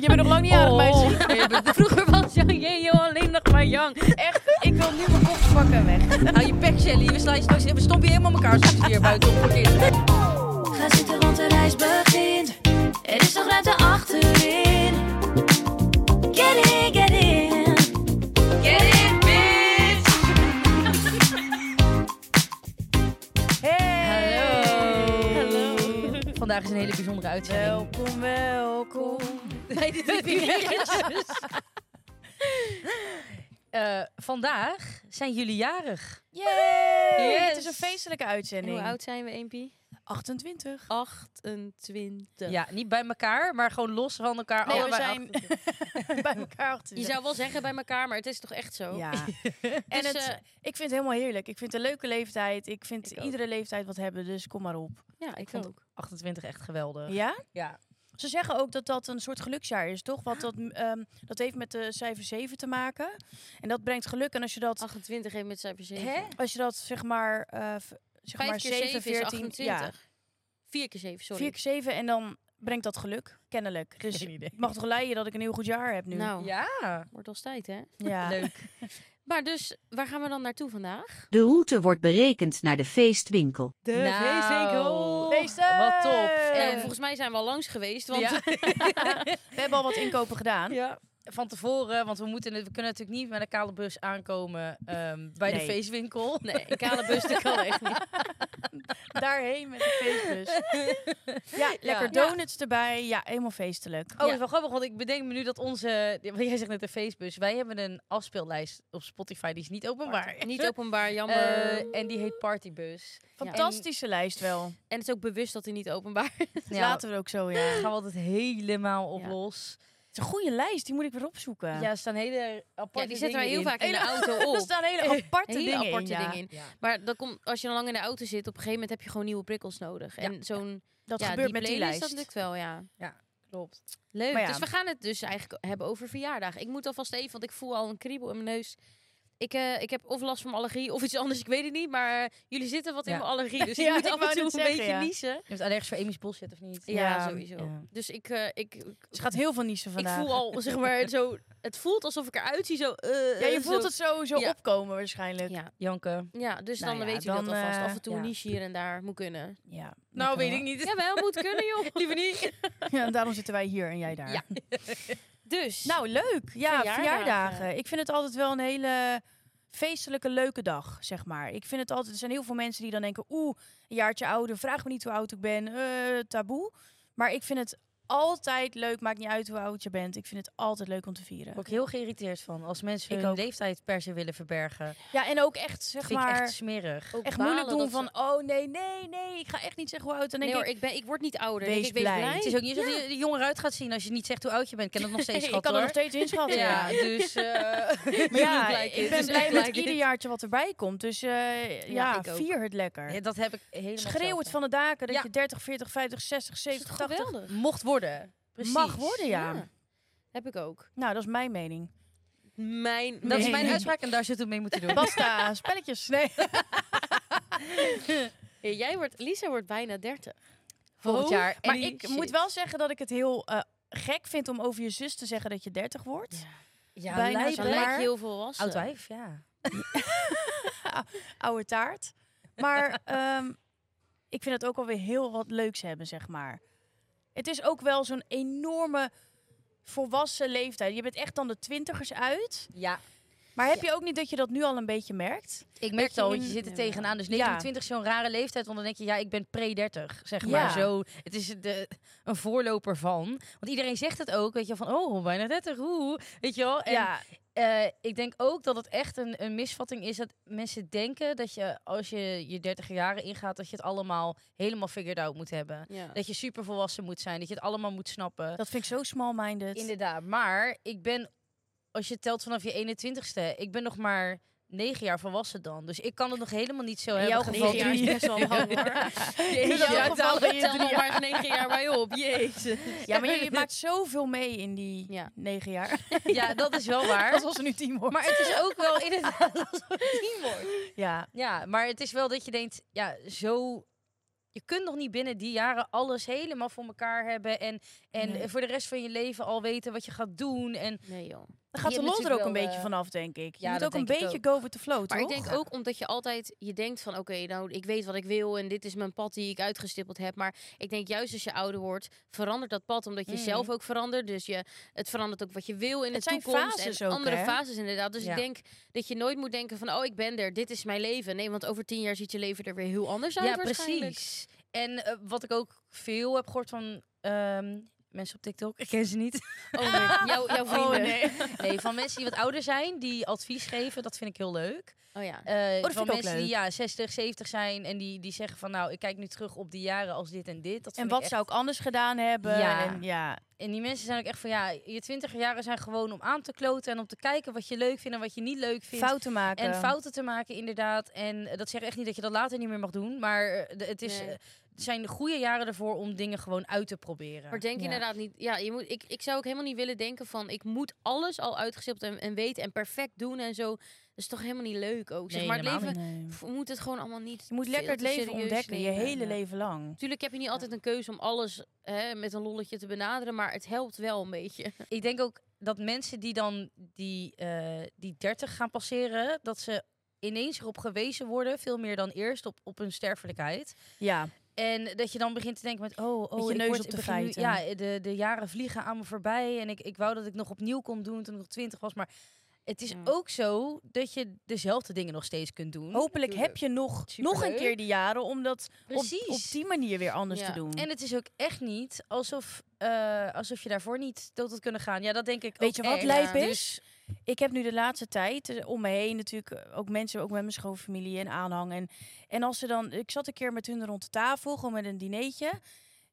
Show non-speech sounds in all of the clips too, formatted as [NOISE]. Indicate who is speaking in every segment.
Speaker 1: Je bent nog lang niet aardig,
Speaker 2: Oh.
Speaker 1: meisje.
Speaker 2: [LAUGHS]
Speaker 3: Vroeger was Jan Jejo alleen nog maar Jan.
Speaker 1: Echt, ik wil nu mijn koffers pakken en weg.
Speaker 3: Hou je pek, Shelly. We slaan je straks we stoppen je helemaal elkaar straks hier buiten op voor kinderen.
Speaker 2: Ga zitten, want de reis begint. Er is nog ruimte achterin. Get in, get in. Get in, bitch.
Speaker 1: Hey!
Speaker 3: Hallo. Vandaag is een hele bijzondere uitzending.
Speaker 1: Welkom, welkom.
Speaker 3: Bij dit [LAUGHS] virus. Eh, vandaag zijn jullie jarig.
Speaker 1: Yay!
Speaker 3: Yes.
Speaker 1: Het is een feestelijke uitzending.
Speaker 4: zijn we, Eempie?
Speaker 1: 28.
Speaker 4: 28.
Speaker 3: Ja, niet bij elkaar, maar gewoon los van elkaar.
Speaker 1: Nee, we
Speaker 3: allebei
Speaker 1: zijn [LAUGHS] bij elkaar. achter
Speaker 4: Je
Speaker 1: de-
Speaker 4: zou wel zeggen bij elkaar, maar het is toch echt zo?
Speaker 1: Ja. [LAUGHS]
Speaker 4: En
Speaker 1: en
Speaker 4: dus,
Speaker 1: het,
Speaker 4: het...
Speaker 1: ik vind het helemaal heerlijk. Ik vind het een leuke leeftijd. Ik vind
Speaker 4: Ik ook.
Speaker 1: iedere leeftijd wat hebben, dus kom maar op.
Speaker 4: ja, ik
Speaker 3: vond
Speaker 4: vond ook.
Speaker 3: 28 echt geweldig.
Speaker 1: Ja?
Speaker 3: Ja.
Speaker 1: Ze zeggen ook dat dat een soort geluksjaar is, toch? Want dat, ehm, dat heeft met de cijfer 7 te maken. En dat brengt geluk. En als je dat,
Speaker 4: 28 heeft met zijn precies.
Speaker 3: Hè?
Speaker 1: als je dat zeg maar, eh, v- zeg
Speaker 4: 5
Speaker 1: maar
Speaker 4: keer 7
Speaker 1: 7, 14,
Speaker 4: is 28.
Speaker 1: ja,
Speaker 4: 4 keer 7, sorry.
Speaker 1: 4 keer 7 en dan brengt dat geluk,
Speaker 3: [LAUGHS]
Speaker 1: kennelijk. Dus
Speaker 3: Geen idee.
Speaker 1: het mag toch leiden dat ik een heel goed jaar heb nu?
Speaker 4: Nou,
Speaker 3: Ja,
Speaker 4: wordt al tijd, hè? [LAUGHS]
Speaker 1: ja.
Speaker 3: leuk.
Speaker 4: Maar dus, waar gaan we dan naartoe vandaag?
Speaker 5: De route wordt berekend naar de feestwinkel.
Speaker 4: De
Speaker 3: Nou,
Speaker 1: Feesten!
Speaker 3: Wat top.
Speaker 4: Nou,
Speaker 3: Eh,
Speaker 4: volgens mij zijn we al langs geweest, want
Speaker 3: Ja.
Speaker 1: We hebben al wat inkopen gedaan.
Speaker 3: Ja. Van tevoren, want we, moeten, het- we kunnen natuurlijk niet met een kale bus aankomen ehm, bij
Speaker 1: Nee.
Speaker 3: de feestwinkel.
Speaker 4: nee,
Speaker 3: [LAUGHS]
Speaker 4: een kale bus, dat kan echt [LAUGHS] niet.
Speaker 1: Daarheen met de
Speaker 4: [LAUGHS]
Speaker 1: feestbus. Ja, lekker donuts erbij. Ja, helemaal feestelijk.
Speaker 3: Oh,
Speaker 4: Ja.
Speaker 3: dat is wel grappig, want ik bedenk me nu dat onze... want Jij zegt net de feestbus. Wij hebben een afspeellijst op Spotify, die is niet openbaar.
Speaker 4: Niet openbaar, jammer.
Speaker 3: Eh, en die heet Partybus.
Speaker 1: Fantastische lijst wel.
Speaker 4: en het is ook bewust dat hij niet openbaar is.
Speaker 1: Dat Dus Laten we ook zo, ja.
Speaker 3: Daar gaan we altijd helemaal op
Speaker 4: Ja.
Speaker 3: los.
Speaker 1: Het is een goede lijst, die moet ik weer opzoeken.
Speaker 3: Ja, er staan hele aparte
Speaker 4: Ja, die zetten
Speaker 3: dingen
Speaker 4: wij heel
Speaker 3: in.
Speaker 4: vaak in de
Speaker 1: Hele-
Speaker 4: [LAUGHS] auto
Speaker 1: Er
Speaker 4: op.
Speaker 1: staan hele aparte
Speaker 4: Hele
Speaker 1: dingen
Speaker 4: aparte
Speaker 1: in, ja.
Speaker 4: dingen in.
Speaker 3: Ja.
Speaker 4: Maar dat komt, als je dan lang in de auto zit, op een gegeven moment heb je gewoon nieuwe prikkels nodig. En zo'n
Speaker 1: Dat
Speaker 4: ja,
Speaker 1: gebeurt
Speaker 4: die
Speaker 1: met die
Speaker 4: playlist,
Speaker 1: lijst.
Speaker 4: dat lukt wel, ja.
Speaker 3: Klopt.
Speaker 4: Leuk.
Speaker 1: Maar ja.
Speaker 4: Dus we gaan het dus eigenlijk hebben over verjaardag. Ik moet alvast even, want ik voel al een kriebel in mijn neus. Ik, eh, ik heb of last van mijn allergie of iets anders, ik weet het niet. Maar eh, jullie zitten wat
Speaker 3: Ja.
Speaker 4: in mijn allergie, [LAUGHS] dus
Speaker 1: Ja,
Speaker 4: ik moet
Speaker 1: ik
Speaker 4: af en
Speaker 1: wou
Speaker 4: toe een
Speaker 1: net zeggen,
Speaker 4: beetje
Speaker 1: ja.
Speaker 4: niezen.
Speaker 3: Je hebt allergisch voor Amy's bullshit of niet?
Speaker 4: Ja, sowieso.
Speaker 3: ja.
Speaker 4: Dus ik, eh, ik, ik,
Speaker 1: Ze gaat heel veel niezen
Speaker 4: ik
Speaker 1: vandaag.
Speaker 4: voel al, zeg maar, zo... Het voelt alsof ik eruit zie, zo... eh,
Speaker 1: ja, je
Speaker 4: zo.
Speaker 1: voelt het sowieso
Speaker 4: Ja.
Speaker 1: opkomen waarschijnlijk.
Speaker 4: Ja,
Speaker 3: Janken.
Speaker 4: ja dus
Speaker 1: Nou
Speaker 4: dan
Speaker 1: ja,
Speaker 4: weet je dat
Speaker 1: dan,
Speaker 4: alvast.
Speaker 1: eh,
Speaker 4: af en toe
Speaker 3: ja.
Speaker 4: een niche hier en daar moet kunnen.
Speaker 1: Ja,
Speaker 3: Nou, weet
Speaker 1: wel.
Speaker 3: ik niet.
Speaker 4: Jawel, moet kunnen,
Speaker 1: [LAUGHS]
Speaker 4: joh.
Speaker 3: Liever niet.
Speaker 1: Ja, en [LAUGHS] daarom zitten wij hier en jij daar.
Speaker 4: Ja. Dus,
Speaker 1: Nou, leuk. Ja,
Speaker 4: Verjaardagen.
Speaker 1: verjaardagen. Ik vind het altijd wel een hele feestelijke, leuke dag, zeg maar. Ik vind het altijd... Er zijn heel veel mensen die dan denken... Oeh, een jaartje ouder, vraag me niet hoe oud ik ben. eh, taboe. Maar ik vind het altijd leuk. Maakt niet uit hoe oud je bent. Ik vind het altijd leuk om te
Speaker 3: Daar
Speaker 1: vieren.
Speaker 3: word ik heel geïrriteerd van. Als mensen
Speaker 1: Ik
Speaker 3: hun
Speaker 1: ook.
Speaker 3: leeftijd per se willen verbergen.
Speaker 1: Ja, en ook echt, zeg
Speaker 3: vind ik
Speaker 1: maar...
Speaker 3: echt smerig.
Speaker 4: ook
Speaker 1: echt
Speaker 4: balen
Speaker 1: moeilijk doen
Speaker 4: dat
Speaker 1: van,
Speaker 4: ze-
Speaker 1: oh nee, nee, nee, ik ga echt niet zeggen hoe oud. Dan
Speaker 4: Nee
Speaker 1: denk
Speaker 4: hoor,
Speaker 1: ik,
Speaker 4: ik, ben, ik word niet ouder. dus
Speaker 1: Wees
Speaker 4: ik, ik wees
Speaker 1: blij.
Speaker 4: blij.
Speaker 3: Het is ook niet zo dat je er jonger uit gaat zien als je niet zegt hoe oud je bent. [LAUGHS] Ik ken dat nog steeds,
Speaker 1: [LAUGHS] ik
Speaker 3: schat,
Speaker 1: kan er nog
Speaker 3: hoor.
Speaker 1: steeds inschatten.
Speaker 3: [LAUGHS] Ja,
Speaker 1: ja.
Speaker 3: dus...
Speaker 1: [LAUGHS]
Speaker 3: eh, [LAUGHS]
Speaker 1: Maar
Speaker 3: doet
Speaker 1: ja,
Speaker 3: gelijk
Speaker 1: ik
Speaker 3: dit. [LAUGHS]
Speaker 1: ben
Speaker 3: Dus
Speaker 1: blij
Speaker 3: doet
Speaker 1: met
Speaker 3: gelijk
Speaker 1: ieder
Speaker 3: dit.
Speaker 1: jaartje wat erbij komt. Dus eh,
Speaker 4: Ja,
Speaker 1: ja,
Speaker 4: ik ook.
Speaker 1: vier het lekker.
Speaker 3: Ja, dat heb ik helemaal
Speaker 1: Schreeuw het
Speaker 3: hetzelfde.
Speaker 1: van de daken dat
Speaker 3: Ja.
Speaker 1: je 30, 40, 50, 60, 70, 80
Speaker 4: geweldig.
Speaker 3: Mocht worden. Precies.
Speaker 1: mag worden, ja.
Speaker 4: Heb ik ook.
Speaker 1: Nou, dat is mijn
Speaker 3: [LAUGHS]
Speaker 1: mening.
Speaker 4: Mijn,
Speaker 3: Dat is
Speaker 1: Nee.
Speaker 3: mijn uitspraak en daar zullen we mee moeten [LAUGHS] doen.
Speaker 1: Basta, spelletjes. Nee.
Speaker 4: Jij wordt, Lisa wordt bijna 30.
Speaker 3: Volgend
Speaker 1: Oh,
Speaker 3: jaar. [LAUGHS]
Speaker 1: Maar
Speaker 3: En die
Speaker 1: ik
Speaker 3: shit.
Speaker 1: moet wel zeggen dat ik het heel eh, gek vind om over je zus te zeggen dat je 30 wordt.
Speaker 3: Ja,
Speaker 1: bijna
Speaker 3: lijp,
Speaker 1: zo
Speaker 4: Dan
Speaker 3: lijp.
Speaker 4: lijkt
Speaker 1: maar-
Speaker 4: je heel volwassen.
Speaker 3: Oud wijf, ja.
Speaker 1: [LAUGHS] Oude taart. Maar ehm, ik vind het ook alweer heel wat leuks hebben, zeg maar. Het is ook wel zo'n enorme volwassen leeftijd. Je bent echt dan de twintigers uit.
Speaker 3: Ja,
Speaker 1: Maar heb je ook niet dat je dat nu al een beetje merkt?
Speaker 3: ik merk het al, want je
Speaker 4: in-
Speaker 3: zit er
Speaker 4: Ja.
Speaker 3: tegenaan. Dus
Speaker 1: Ja.
Speaker 3: 29 is zo'n rare leeftijd, want dan denk je, ja, ik ben pre-30, zeg maar.
Speaker 1: Ja.
Speaker 3: Zo, het is de, een voorloper van. Want iedereen zegt het ook, weet je, wel, van, oh, bijna 30, hoe, weet je wel. En eh, ik denk ook dat het echt een, een misvatting is dat mensen denken dat je, als je je 30 jaren ingaat, dat je het allemaal helemaal figured out moet hebben.
Speaker 4: Ja.
Speaker 3: Dat je super volwassen moet zijn, dat je het allemaal moet snappen.
Speaker 1: dat vind ik zo small-minded. [LAUGHS]
Speaker 3: Inderdaad, maar ik ben, als je telt vanaf je 21ste, ik ben nog maar negen jaar volwassen dan. Dus ik kan het nog helemaal niet zo
Speaker 1: In
Speaker 3: hebben.
Speaker 1: jouw geval
Speaker 3: gevoeld.
Speaker 1: drie.
Speaker 3: [LAUGHS]
Speaker 4: best wel lang hoor.
Speaker 1: In
Speaker 4: Jeetje,
Speaker 1: jouw
Speaker 4: ja,
Speaker 1: geval
Speaker 4: tel,
Speaker 1: ben je
Speaker 4: tel
Speaker 1: drie
Speaker 4: nog maar negen jaar bij op. Jezus.
Speaker 1: Ja, maar
Speaker 4: [LAUGHS]
Speaker 1: je, je maakt zoveel mee in die
Speaker 4: [LAUGHS] Ja.
Speaker 1: negen jaar.
Speaker 3: Ja, dat is
Speaker 1: [LAUGHS]
Speaker 3: wel waar.
Speaker 1: als er nu tien wordt.
Speaker 3: Maar het is ook wel
Speaker 1: [LAUGHS]
Speaker 3: inderdaad als het team wordt.
Speaker 1: Ja.
Speaker 3: Ja, maar het is wel dat je denkt, ja, zo Je kunt nog niet binnen die jaren alles helemaal voor elkaar hebben. En, en
Speaker 1: Nee.
Speaker 3: eh, voor de rest van je leven al weten wat je gaat doen. En
Speaker 4: Nee joh.
Speaker 1: Daar gaat
Speaker 4: Je
Speaker 1: de
Speaker 4: hebt
Speaker 1: lol er ook
Speaker 4: natuurlijk
Speaker 1: een
Speaker 4: wel,
Speaker 1: beetje
Speaker 4: eh,
Speaker 1: vanaf, denk ik. Je
Speaker 3: ja,
Speaker 1: moet
Speaker 3: dat
Speaker 1: ook een
Speaker 3: denk ik
Speaker 1: beetje go with the flow,
Speaker 4: Maar
Speaker 1: toch?
Speaker 4: ik denk ook omdat je altijd, je denkt van oké, nou ik weet wat ik wil en dit is mijn pad die ik uitgestippeld heb. Maar ik denk juist als je ouder wordt, verandert dat pad omdat je
Speaker 3: Mhm.
Speaker 4: zelf ook verandert. Dus je, het verandert ook wat je wil in de
Speaker 1: Mm. Het zijn
Speaker 4: toekomst.
Speaker 1: fases
Speaker 4: en
Speaker 1: ook,
Speaker 4: andere
Speaker 1: hè?
Speaker 4: fases inderdaad. Dus
Speaker 3: Ja.
Speaker 4: ik denk dat je nooit moet denken van oh ik ben er, dit is mijn leven. Nee, want over tien jaar ziet je leven er weer heel anders uit
Speaker 3: ja,
Speaker 4: waarschijnlijk.
Speaker 3: precies. En eh, wat ik ook veel heb gehoord van ehm, mensen op TikTok, ik ken ze niet.
Speaker 1: [LAUGHS]
Speaker 4: Oh, nee. jouw, jouw
Speaker 1: Oh,
Speaker 4: vrienden.
Speaker 3: [LAUGHS]
Speaker 1: nee.
Speaker 3: Nee, van mensen die wat ouder zijn, die advies geven, dat vind ik heel leuk.
Speaker 4: Oh ja.
Speaker 3: Eh,
Speaker 1: vind
Speaker 3: van
Speaker 1: ik ook
Speaker 3: mensen die
Speaker 1: leuk.
Speaker 3: ja, 60, 70 zijn en die, die zeggen van nou, ik kijk nu terug op die jaren als dit en dit. Dat
Speaker 1: En
Speaker 3: vind
Speaker 1: wat
Speaker 3: ik echt-
Speaker 1: zou ik anders gedaan hebben?
Speaker 3: Ja.
Speaker 1: En ja,
Speaker 3: En die mensen zijn ook echt van ja, je 20 jaren zijn gewoon om aan te kloten en om te kijken wat je leuk vindt en wat je niet leuk vindt.
Speaker 1: fouten maken.
Speaker 3: En fouten te maken, inderdaad. En eh, dat zegt echt niet dat je dat later niet meer mag doen. Maar eh, de- het is,
Speaker 4: Nee.
Speaker 3: eh, het zijn goede jaren ervoor om dingen gewoon uit te proberen.
Speaker 4: Maar denk
Speaker 1: Ja.
Speaker 4: inderdaad niet. Ja, je moet, ik, ik zou ook helemaal niet willen denken van ik moet alles al uitgestippeld en, en weten en perfect doen en zo. Dat is toch helemaal niet leuk ook. Zeg
Speaker 3: Nee,
Speaker 4: maar het
Speaker 3: helemaal
Speaker 4: leven
Speaker 1: Nee.
Speaker 4: pff, moet het gewoon allemaal niet.
Speaker 1: Je moet lekker het leven ontdekken, je hele leven lang.
Speaker 4: Natuurlijk heb je niet altijd een keuze om alles hè, met een lolletje te benaderen, maar het helpt wel een beetje.
Speaker 3: ik denk ook dat mensen die dan die, eh, die 30 gaan passeren, dat ze ineens erop gewezen worden, veel meer dan eerst, op, op hun sterfelijkheid.
Speaker 1: Ja,
Speaker 3: En dat je dan begint te denken met, oh, oh
Speaker 1: Met je
Speaker 3: ik
Speaker 1: neus
Speaker 3: word,
Speaker 1: op
Speaker 3: ik
Speaker 1: de
Speaker 3: begin nu-
Speaker 1: feiten.
Speaker 3: ja, de, de jaren vliegen aan me voorbij en ik, ik wou dat ik nog opnieuw kon doen toen ik nog 20 was. Maar het is
Speaker 4: Ja.
Speaker 3: ook zo dat je dezelfde dingen nog steeds kunt doen.
Speaker 1: hopelijk heb je nog, nog een
Speaker 3: Superleuk.
Speaker 1: keer die jaren om dat op, op
Speaker 3: Precies.
Speaker 1: die manier weer anders
Speaker 4: Ja.
Speaker 1: te doen.
Speaker 3: En het is ook echt niet alsof, eh, alsof je daarvoor niet dood had kunnen gaan. Ja, dat denk ik ook
Speaker 1: Weet je wat
Speaker 3: echt.
Speaker 1: lijp
Speaker 3: Dus-
Speaker 1: is? Ik heb nu de laatste tijd eh, om me heen natuurlijk eh, ook mensen, ook met mijn schoonfamilie en aanhang. En, en als ze dan, ik zat een keer met hun rond de tafel, gewoon met een dineetje.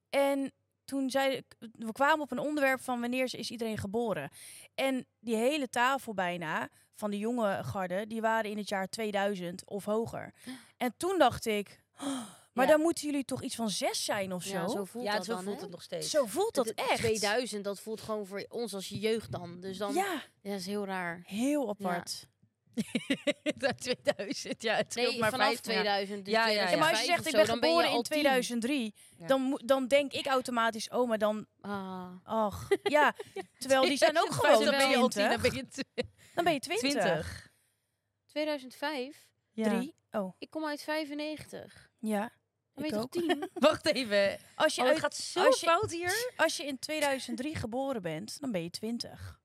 Speaker 1: En toen zei ik, we kwamen op een onderwerp van wanneer is iedereen geboren. En die hele tafel bijna van de jonge garde, die waren in het jaar 2000 of hoger. En toen dacht ik, "Oh, maar
Speaker 3: Ja.
Speaker 1: dan moeten jullie toch iets van zes zijn of zo?
Speaker 4: Ja,
Speaker 1: zo,
Speaker 4: zo voelt
Speaker 3: ja,
Speaker 4: dat
Speaker 3: zo
Speaker 4: dan,
Speaker 3: voelt
Speaker 4: hè?
Speaker 3: het nog steeds.
Speaker 1: zo voelt dat
Speaker 4: De- de
Speaker 1: echt.
Speaker 4: 2000, dat voelt gewoon voor ons als jeugd dan. Dus dan, ja,
Speaker 1: Ja,
Speaker 4: dat is heel raar.
Speaker 1: heel apart.
Speaker 3: [LAUGHS] Naar 2000, ja, het scheelt
Speaker 4: Nee,
Speaker 3: maar
Speaker 4: vanaf
Speaker 3: 2000.
Speaker 4: 2000. Dus
Speaker 3: Ja, ja, ja.
Speaker 1: Ja, maar als je
Speaker 4: 2005
Speaker 1: zegt, ik
Speaker 4: of zo,
Speaker 1: ben
Speaker 4: dan je
Speaker 1: geboren
Speaker 4: al
Speaker 1: in 2003,
Speaker 3: Ja.
Speaker 1: dan, moet- dan denk ik automatisch, oh, maar dan,
Speaker 4: 10. Ah.
Speaker 1: ach, ja. Terwijl die zijn [LAUGHS] ook gewoon
Speaker 3: dan ben je al 10, dan
Speaker 1: 20.
Speaker 3: ben je 20.
Speaker 1: Dan ben je 20.
Speaker 4: 2005?
Speaker 1: Ja. Drie. Oh,
Speaker 4: Ik kom uit 95.
Speaker 1: ja.
Speaker 4: Dan
Speaker 1: Ik
Speaker 4: ben je
Speaker 1: ook.
Speaker 4: toch
Speaker 1: [LAUGHS]
Speaker 4: 10?
Speaker 3: [LAUGHS] Wacht even.
Speaker 1: Als je,
Speaker 3: Oh, het
Speaker 1: uit-
Speaker 3: gaat zo
Speaker 1: als je-
Speaker 3: fout hier.
Speaker 1: [LAUGHS] als je in 2003 geboren bent, dan ben je 20.